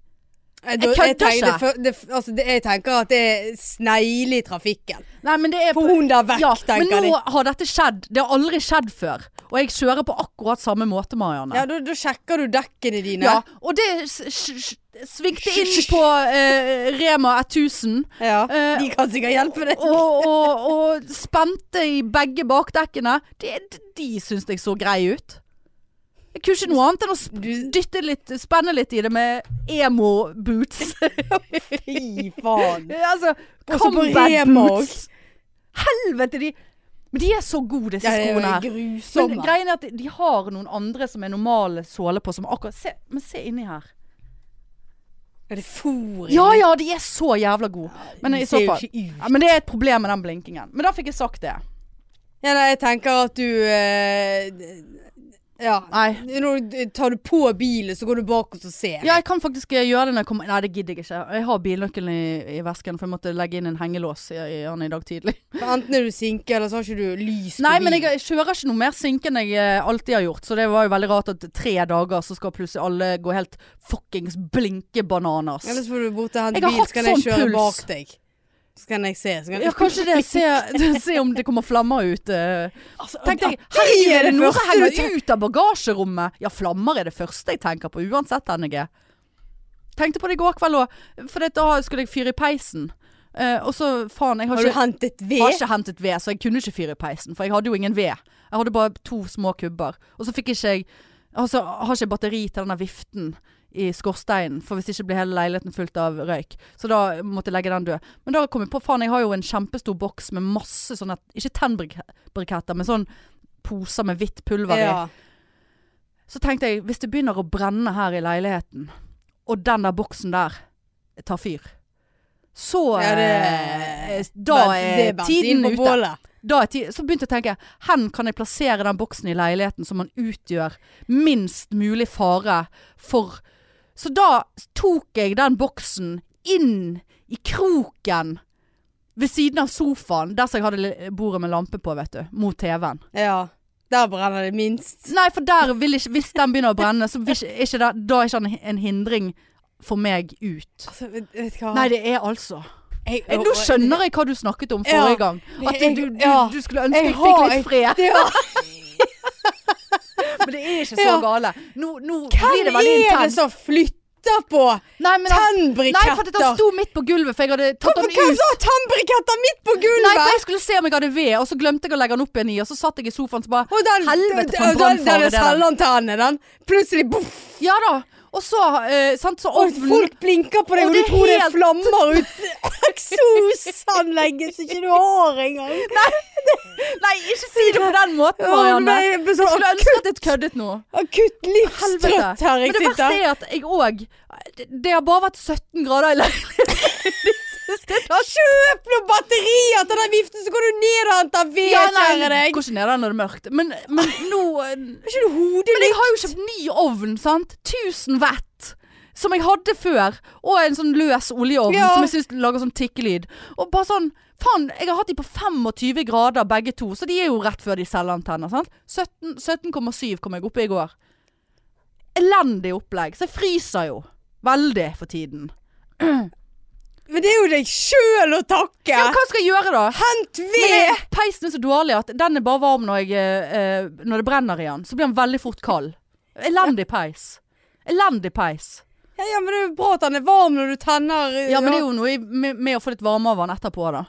[SPEAKER 2] Eh, Jeg,
[SPEAKER 1] Jeg kødder
[SPEAKER 2] tenker-
[SPEAKER 1] ikke.
[SPEAKER 2] det fø- det f- altså, det, jeg tenker at det er snegle i trafikken.
[SPEAKER 1] Nei, men det er
[SPEAKER 2] For hun der vekk,
[SPEAKER 1] ja, men
[SPEAKER 2] tenker
[SPEAKER 1] nå
[SPEAKER 2] de.
[SPEAKER 1] har dette skjedd. Det har aldri skjedd før. Og jeg kjører på akkurat samme måte, Marianne.
[SPEAKER 2] Ja, da, da sjekker du dekkene dine.
[SPEAKER 1] Ja, og det s- s- s- svingte inn på eh, Rema 1000.
[SPEAKER 2] Ja,
[SPEAKER 1] Eh,
[SPEAKER 2] De kan sikkert hjelpe deg.
[SPEAKER 1] Og, og, og spente i begge bakdekkene. De, de syns jeg så grei ut. Jeg kunne ikke noe annet enn å sp
[SPEAKER 2] Du-
[SPEAKER 1] dytte litt, spenne litt i det med emo-boots.
[SPEAKER 2] Fy faen.
[SPEAKER 1] altså,
[SPEAKER 2] Og så på
[SPEAKER 1] combat
[SPEAKER 2] Rema
[SPEAKER 1] boots. Helvete, de Men de er så gode, disse
[SPEAKER 2] Ja, det
[SPEAKER 1] skoene
[SPEAKER 2] er
[SPEAKER 1] her.
[SPEAKER 2] grusomme.
[SPEAKER 1] Men greien er at de, de har noen andre som er normale såler på, som akkurat se, Men se inni her.
[SPEAKER 2] Er det fôr? i
[SPEAKER 1] Ja
[SPEAKER 2] den?
[SPEAKER 1] ja, de er så jævla gode. Men
[SPEAKER 2] De
[SPEAKER 1] i
[SPEAKER 2] ser
[SPEAKER 1] så
[SPEAKER 2] jo
[SPEAKER 1] fall
[SPEAKER 2] ikke ut.
[SPEAKER 1] ja, Men det er et problem med den blinkingen. Men da fikk jeg sagt det.
[SPEAKER 2] Ja, nei, jeg tenker at du eh, Ja.
[SPEAKER 1] Nei.
[SPEAKER 2] Når du tar du på bilen, så går du bak og så ser.
[SPEAKER 1] Ja, jeg kan faktisk eh, gjøre det når jeg kommer Nei, det gidder jeg ikke. Jeg har bilnøkkelen i, i vesken, for jeg måtte legge inn en hengelås i, i den i dag tidlig.
[SPEAKER 2] For Enten er du sinke, eller så har ikke du lys på
[SPEAKER 1] Nei, men
[SPEAKER 2] bilen.
[SPEAKER 1] jeg kjører ikke noe mer sinke enn jeg eh, alltid har gjort, så det var jo veldig rart at tre dager så skal plutselig alle gå helt fuckings blinke bananas.
[SPEAKER 2] Ellers får du bort og hente
[SPEAKER 1] Jeg har
[SPEAKER 2] bil,
[SPEAKER 1] hatt
[SPEAKER 2] så kan jeg
[SPEAKER 1] sånn puls.
[SPEAKER 2] kjøre bak deg. Så kan jeg se. Så kan
[SPEAKER 1] Ja, kanskje det. Se, se om det kommer flammer ut. eh.
[SPEAKER 2] Altså,
[SPEAKER 1] Tenkte jeg,
[SPEAKER 2] det er
[SPEAKER 1] herregud, er det
[SPEAKER 2] det
[SPEAKER 1] noe som
[SPEAKER 2] første du
[SPEAKER 1] henger ut av bagasjerommet? Ja, flammer er det første jeg tenker på, uansett NG. Tenkte på det i går kveld òg, for da skulle jeg fyre i peisen. Eh, og så, faen, jeg har
[SPEAKER 2] Har du
[SPEAKER 1] ikke
[SPEAKER 2] hentet ved?
[SPEAKER 1] Jeg har ikke hentet ved, så jeg kunne ikke fyre i peisen, for jeg hadde jo ingen ved. Jeg hadde bare to små kubber. Og så fikk ikke jeg Altså, har ikke jeg batteri til denne viften i skorsteinen, for hvis ikke blir hele leiligheten fullt av røyk. Så da måtte jeg legge den død. Men da kom jeg på faen, jeg har jo en kjempestor boks med masse sånne Ikke tennbriketter, men sånn poser med hvitt pulver i.
[SPEAKER 2] Ja.
[SPEAKER 1] Så tenkte jeg, hvis det begynner å brenne her i leiligheten, og den der boksen der tar fyr, så
[SPEAKER 2] Ja, det-
[SPEAKER 1] eh, Da
[SPEAKER 2] Bensin- det
[SPEAKER 1] er
[SPEAKER 2] bensin
[SPEAKER 1] tiden
[SPEAKER 2] på
[SPEAKER 1] ute.
[SPEAKER 2] bålet.
[SPEAKER 1] Da er ti så begynte jeg å tenke, hen kan jeg plassere den boksen i leiligheten som man utgjør minst mulig fare for. Så da tok jeg den boksen inn i kroken ved siden av sofaen, der som jeg hadde li- bordet med lampe på, vet du, mot TV-en.
[SPEAKER 2] Ja. Der brenner det minst.
[SPEAKER 1] Nei, for der vil ikke, hvis den begynner å brenne, så vil ikke, ikke det, da er ikke han en hindring for meg ut.
[SPEAKER 2] Altså, vet, vet du hva
[SPEAKER 1] Nei, det er altså
[SPEAKER 2] Jeg-
[SPEAKER 1] jeg, Nå skjønner jeg hva du snakket om forrige
[SPEAKER 2] Ja.
[SPEAKER 1] gang. At du,
[SPEAKER 2] Jeg-
[SPEAKER 1] du, du,
[SPEAKER 2] ja.
[SPEAKER 1] du skulle ønske jeg
[SPEAKER 2] Jeg
[SPEAKER 1] fikk
[SPEAKER 2] har-
[SPEAKER 1] litt fred.
[SPEAKER 2] Ja.
[SPEAKER 1] Men det er ikke så
[SPEAKER 2] Ja.
[SPEAKER 1] gale. Nå, nå blir det
[SPEAKER 2] Hvem
[SPEAKER 1] veldig
[SPEAKER 2] er det
[SPEAKER 1] intenst.
[SPEAKER 2] som flytter på
[SPEAKER 1] Nei, men han- nei, for at han
[SPEAKER 2] tannbriketter?
[SPEAKER 1] sto midt på gulvet, for jeg hadde tatt han
[SPEAKER 2] Hvem
[SPEAKER 1] ut.
[SPEAKER 2] sa tannbriketter midt på
[SPEAKER 1] Nei,
[SPEAKER 2] gulvet?
[SPEAKER 1] for jeg skulle se om jeg hadde ved, og så glemte jeg å legge den opp igjen i, og så satt jeg i sofaen så bare
[SPEAKER 2] Og den,
[SPEAKER 1] Helvete, for en
[SPEAKER 2] den, den,
[SPEAKER 1] brannfare
[SPEAKER 2] den
[SPEAKER 1] det er den.
[SPEAKER 2] selvantenne, den. Plutselig boff,
[SPEAKER 1] Ja da. Og så, eh, sant, så
[SPEAKER 2] og
[SPEAKER 1] ovnen
[SPEAKER 2] folk blinker på
[SPEAKER 1] Og
[SPEAKER 2] deg, og,
[SPEAKER 1] det
[SPEAKER 2] du
[SPEAKER 1] er
[SPEAKER 2] tror det
[SPEAKER 1] helt-
[SPEAKER 2] er flammer ut eksosanlegget som ikke du har engang.
[SPEAKER 1] Nei, ikke si det på den måten,
[SPEAKER 2] Åh,
[SPEAKER 1] Marianne.
[SPEAKER 2] nei, jeg ble
[SPEAKER 1] Jeg
[SPEAKER 2] sånn
[SPEAKER 1] skulle ønske
[SPEAKER 2] akutt,
[SPEAKER 1] at jeg køddet nå.
[SPEAKER 2] akutt livstrøtt her
[SPEAKER 1] Men
[SPEAKER 2] jeg
[SPEAKER 1] det verste
[SPEAKER 2] sitter.
[SPEAKER 1] er at jeg òg det, det har bare vært 17 grader i leiligheten.
[SPEAKER 2] Kjøp noen batterier til den viften, så går du ned og henter ved, kjære
[SPEAKER 1] jeg
[SPEAKER 2] deg.
[SPEAKER 1] går ikke ned der når det er mørkt. Men, men nå eh,
[SPEAKER 2] Har ikke du hodet
[SPEAKER 1] Men jeg har jo kjøpt ny ovn, sant? 1000 watt. Som jeg hadde før. Og en sånn løs oljeovn
[SPEAKER 2] Ja.
[SPEAKER 1] som jeg syns lager sånn tikkelyd. Og bare sånn Faen, jeg har hatt de på 25 grader begge to, så de er jo rett før de selger antenner. sant? 17 17,7 kom jeg opp i går. Elendig opplegg. Så jeg fryser jo. Veldig for tiden.
[SPEAKER 2] Men det er jo deg sjøl å takke!
[SPEAKER 1] Ja, hva skal jeg gjøre da?
[SPEAKER 2] Hent
[SPEAKER 1] Men
[SPEAKER 2] ved!
[SPEAKER 1] det- peisen er så dårlig at den er bare varm når, jeg, eh, eh, når det brenner i den. Så blir den veldig fort kald. Elendig peis. Elendig peis.
[SPEAKER 2] Ja, ja, men det er jo bra at han er varm når du tenner eh,
[SPEAKER 1] Ja, men det er jo noe i- med, med å få litt varme over den etterpå, da.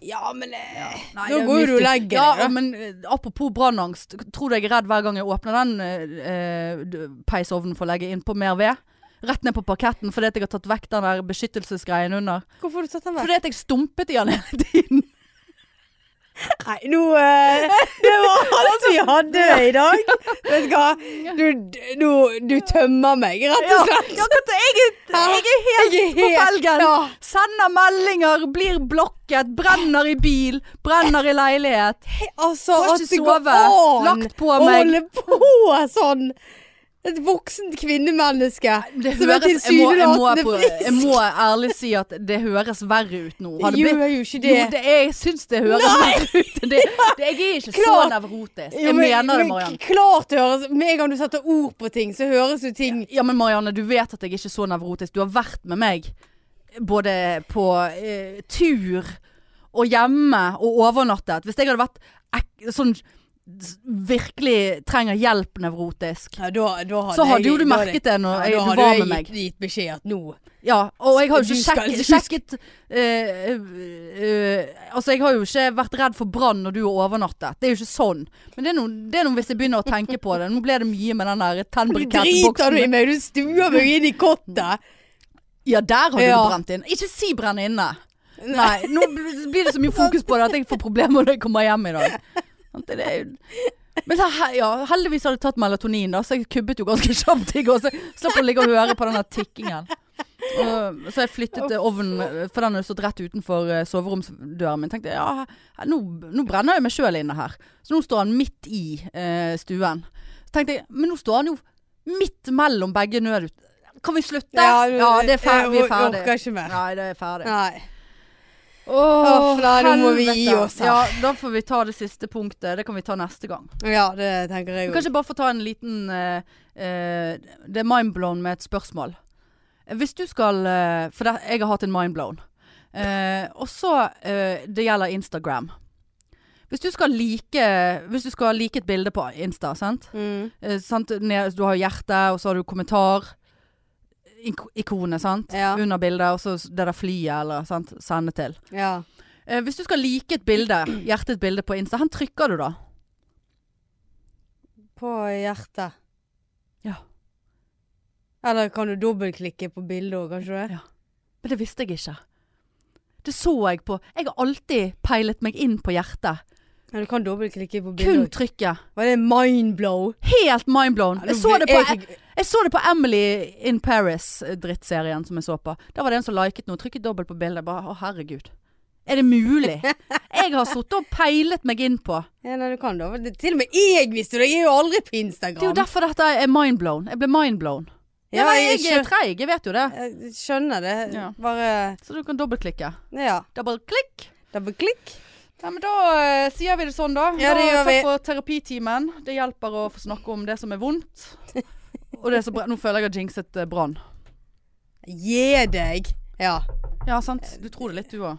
[SPEAKER 2] Ja, men eh,
[SPEAKER 1] Nei,
[SPEAKER 2] Nå
[SPEAKER 1] det er
[SPEAKER 2] går jo du og
[SPEAKER 1] mystisk.
[SPEAKER 2] legger
[SPEAKER 1] ja,
[SPEAKER 2] deg, da.
[SPEAKER 1] Men eh, apropos brannangst. Tror du jeg er redd hver gang jeg åpner den eh, eh, d- peisovnen for å legge innpå mer ved? Rett ned på parketten fordi at jeg har tatt vekk den der beskyttelsesgreien under.
[SPEAKER 2] Hvorfor har du tatt den vekk?
[SPEAKER 1] Fordi at jeg stumpet i den hele tiden.
[SPEAKER 2] Nei, nå eh, Det var alt vi hadde i dag. Vet du hva? Du, du, du tømmer meg, rett og slett.
[SPEAKER 1] Ja, hva- jeg, er- jeg er helt
[SPEAKER 2] Jeg er
[SPEAKER 1] på
[SPEAKER 2] helt
[SPEAKER 1] felgen.
[SPEAKER 2] ja.
[SPEAKER 1] Sender meldinger, blir blokket, brenner i bil, brenner i leilighet.
[SPEAKER 2] Altså,
[SPEAKER 1] Får
[SPEAKER 2] at
[SPEAKER 1] ikke
[SPEAKER 2] det går
[SPEAKER 1] sove.
[SPEAKER 2] an
[SPEAKER 1] Lagt på
[SPEAKER 2] å
[SPEAKER 1] meg.
[SPEAKER 2] holde på sånn. Et voksent kvinnemenneske
[SPEAKER 1] Det
[SPEAKER 2] som er
[SPEAKER 1] høres, jeg, må, jeg, må,
[SPEAKER 2] tilsynelatende
[SPEAKER 1] på, jeg
[SPEAKER 2] frisk.
[SPEAKER 1] må ærlig si at det høres verre ut nå. Har
[SPEAKER 2] Det
[SPEAKER 1] det blitt,
[SPEAKER 2] gjør jo ikke
[SPEAKER 1] Jo,
[SPEAKER 2] det.
[SPEAKER 1] det er, jeg syns det høres verre ut. Det, det, jeg er ikke så
[SPEAKER 2] Klart.
[SPEAKER 1] nevrotisk.
[SPEAKER 2] Jo,
[SPEAKER 1] Jeg
[SPEAKER 2] men-
[SPEAKER 1] mener det,
[SPEAKER 2] men
[SPEAKER 1] Marianne.
[SPEAKER 2] Klart det høres Med en gang du setter ord på ting, så høres jo ting
[SPEAKER 1] Ja, men Marianne, du vet at jeg er ikke så nevrotisk. Du har vært med meg både på eh, tur og hjemme og overnattet. Hvis jeg hadde vært ek sånn s- virkelig trenger hjelp nevrotisk,
[SPEAKER 2] ja, da, da
[SPEAKER 1] så hadde jo du
[SPEAKER 2] da
[SPEAKER 1] merket det når
[SPEAKER 2] ja,
[SPEAKER 1] jeg,
[SPEAKER 2] da
[SPEAKER 1] du
[SPEAKER 2] hadde
[SPEAKER 1] var
[SPEAKER 2] jeg
[SPEAKER 1] med meg.
[SPEAKER 2] Gitt, gitt beskjed at nå
[SPEAKER 1] Ja, og jeg har jo ikke
[SPEAKER 2] Du skal-
[SPEAKER 1] sjekket, sjekket eh, eh, Altså, jeg har jo ikke vært redd for brann når du har overnattet. Det er jo ikke sånn. Men det er noe, det er noe hvis jeg begynner å tenke på det. Nå ble det mye med den der
[SPEAKER 2] driter du i
[SPEAKER 1] tennbrikettboksen.
[SPEAKER 2] meg, du stuer meg inn i
[SPEAKER 1] Mm.
[SPEAKER 2] kottet.
[SPEAKER 1] Ja, der har
[SPEAKER 2] Ja.
[SPEAKER 1] du brent inn. Ikke si 'brenn inne'. Nei, nå bl- blir det så mye fokus på det at jeg får problemer når jeg kommer hjem i dag. Sant, Det er jo... Men så, he- ja, heldigvis har jeg tatt melatonin, da, så jeg kubbet jo ganske kjapt i går. Så jeg slapp å ligge og høre på den der tikkingen. Og, så jeg flyttet eh, ovnen, eh, for den hadde stått rett utenfor eh, soveromsdøren min. Tenkte ja, her- nå, nå brenner jeg meg sjøl inne her. Så nå står han midt i eh, stuen. Så tenkte jeg, men nå står han jo midt mellom begge nødut... Kan vi slutte? Ja, det er ferdig. Vi er
[SPEAKER 2] jeg or-
[SPEAKER 1] ferdig.
[SPEAKER 2] Orker ikke mer.
[SPEAKER 1] Nei, det er ferdig.
[SPEAKER 2] Nei.
[SPEAKER 1] Åh,
[SPEAKER 2] Åh, nei, nå må vi gi
[SPEAKER 1] helvete.
[SPEAKER 2] oss her.
[SPEAKER 1] Ja, da får vi ta det siste punktet. Det kan vi ta neste gang.
[SPEAKER 2] Ja, det tenker jeg
[SPEAKER 1] Vi
[SPEAKER 2] jo.
[SPEAKER 1] kan ikke bare få ta en liten eh, eh, Det er mindblown med et spørsmål. Hvis du skal eh, For det, jeg har hatt en mindblown. Eh, og så eh, Det gjelder Instagram. Hvis du skal like Hvis du skal like et bilde på Insta, sant?
[SPEAKER 2] Mm.
[SPEAKER 1] Eh, sant? Ned, du har hjerte, og så har du kommentar. ik- Ikonet, sant?
[SPEAKER 2] Ja.
[SPEAKER 1] Under bildet, og så det der flyet, eller sant? Sende til.
[SPEAKER 2] Ja.
[SPEAKER 1] Eh, hvis du skal like et bilde, hjerte et bilde på Insta, hvor trykker du da?
[SPEAKER 2] På hjertet.
[SPEAKER 1] Ja.
[SPEAKER 2] Eller kan du dobbeltklikke på bildet òg, kan du ikke det?
[SPEAKER 1] Men det visste jeg ikke. Det så jeg på. Jeg har alltid peilet meg inn på hjertet.
[SPEAKER 2] Ja, du kan dobbeltklikke på bildet
[SPEAKER 1] Kun
[SPEAKER 2] òg.
[SPEAKER 1] trykket.
[SPEAKER 2] Var det mindblow?
[SPEAKER 1] Helt mindblown.
[SPEAKER 2] Ja, nå
[SPEAKER 1] Jeg så
[SPEAKER 2] blir-
[SPEAKER 1] det på, E-
[SPEAKER 2] jeg-
[SPEAKER 1] jeg så det på Emily in Paris-drittserien som jeg så på. Da var det en som liket noe. Trykket dobbelt på bildet. Jeg Bare, å herregud. Er det mulig? Jeg har sittet og peilet meg inn på.
[SPEAKER 2] Ja, nei, du kan da. Det- Til og med jeg visste det! Jeg er jo aldri på Instagram.
[SPEAKER 1] Det er jo derfor dette er mindblown. Jeg ble mindblown. Ja,
[SPEAKER 2] Ja,
[SPEAKER 1] jeg,
[SPEAKER 2] jeg,
[SPEAKER 1] jeg er treig, jeg vet jo det.
[SPEAKER 2] skjønner, jeg skjønner det.
[SPEAKER 1] Ja.
[SPEAKER 2] Bare
[SPEAKER 1] Så du kan dobbeltklikke.
[SPEAKER 2] Ja.
[SPEAKER 1] Dobbelt klikk.
[SPEAKER 2] Dobbeltklikk.
[SPEAKER 1] Ja, men da eh, sier vi det sånn, da.
[SPEAKER 2] Ja, det
[SPEAKER 1] da,
[SPEAKER 2] gjør
[SPEAKER 1] takk
[SPEAKER 2] vi.
[SPEAKER 1] for terapitimen. Det hjelper å få snakke om det som er vondt. Og det som bra- Nå føler jeg at jinxet eh, brann.
[SPEAKER 2] Gi deg. Ja.
[SPEAKER 1] Ja, sant.
[SPEAKER 2] Eh,
[SPEAKER 1] Du tror det litt, du òg.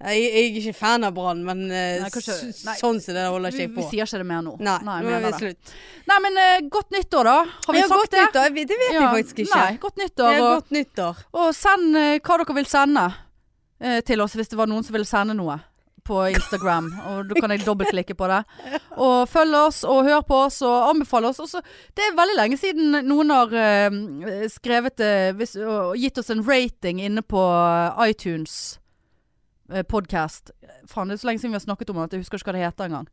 [SPEAKER 2] Jeg, jeg er ikke fan av Brann, men eh,
[SPEAKER 1] Nei, kanskje-
[SPEAKER 2] s-
[SPEAKER 1] nei.
[SPEAKER 2] sånn som det der holder
[SPEAKER 1] Vi,
[SPEAKER 2] ikke jeg
[SPEAKER 1] vi
[SPEAKER 2] på.
[SPEAKER 1] sier ikke det mer nå.
[SPEAKER 2] Nei,
[SPEAKER 1] Nei,
[SPEAKER 2] nå er vi
[SPEAKER 1] mener det.
[SPEAKER 2] slutt.
[SPEAKER 1] Nei men eh, godt nyttår, da. Har vi
[SPEAKER 2] Ja,
[SPEAKER 1] sagt
[SPEAKER 2] godt
[SPEAKER 1] det?
[SPEAKER 2] nyttår? Vi- Det vet vi faktisk ikke.
[SPEAKER 1] Nei, godt
[SPEAKER 2] Det
[SPEAKER 1] nyttår.
[SPEAKER 2] er
[SPEAKER 1] Og,
[SPEAKER 2] godt nyttår.
[SPEAKER 1] og send eh, hva dere vil sende eh, til oss hvis det var noen som ville sende noe på Instagram. og da kan jeg dobbeltklikke på det. Og følg oss og hør på oss og anbefale oss. Og så- det er veldig lenge siden noen har eh, skrevet eh, hvis, og gitt oss en rating inne på iTunes eh, podcast. Faen, det er så lenge siden vi har snakket om det at jeg husker ikke hva det heter engang.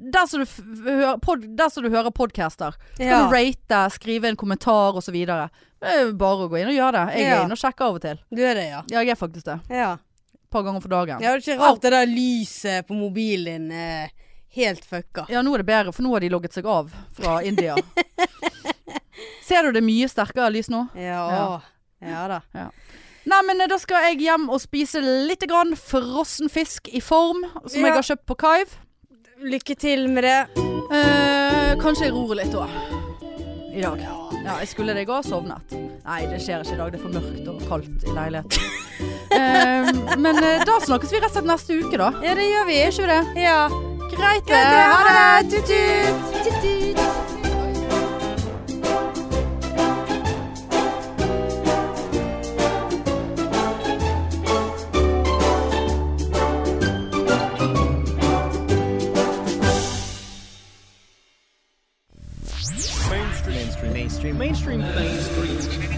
[SPEAKER 1] Der som du, f- hører pod, der som du hører podcaster. Så kan
[SPEAKER 2] Ja.
[SPEAKER 1] du rate, skrive en kommentar osv. Det er jo bare å gå inn og gjøre det. Jeg
[SPEAKER 2] Ja.
[SPEAKER 1] er inne og sjekker av og til.
[SPEAKER 2] Du er det, ja.
[SPEAKER 1] Ja, jeg er faktisk det.
[SPEAKER 2] Ja.
[SPEAKER 1] Et par ganger for dagen.
[SPEAKER 2] ja det er ikke rart det der lyset på mobilen din eh, helt fucka.
[SPEAKER 1] Ja, nå er det bedre, for nå har de logget seg av fra India. Ser du det mye sterkere lys nå?
[SPEAKER 2] Ja. Ja da.
[SPEAKER 1] Nei, men eh, da skal jeg hjem og spise litt grann frossen fisk i form, som
[SPEAKER 2] Ja.
[SPEAKER 1] jeg har kjøpt på Kaiv.
[SPEAKER 2] Lykke til med det.
[SPEAKER 1] Eh, kanskje jeg ror litt òg. I dag. Ja, jeg skulle det i går, sovnet. Nei, det skjer ikke i dag. Det er for mørkt og kaldt i leiligheten. Eh, men eh, da snakkes vi rett og slett neste uke, da.
[SPEAKER 2] Ja, det gjør vi.
[SPEAKER 1] Er ikke vi det?
[SPEAKER 2] Ja.
[SPEAKER 1] Greit, det.
[SPEAKER 2] Greit, eh, det.
[SPEAKER 1] Ha det.
[SPEAKER 2] Tut-tut. Tut-tut.
[SPEAKER 3] mainstream mainstream mainstream mainstream mainstream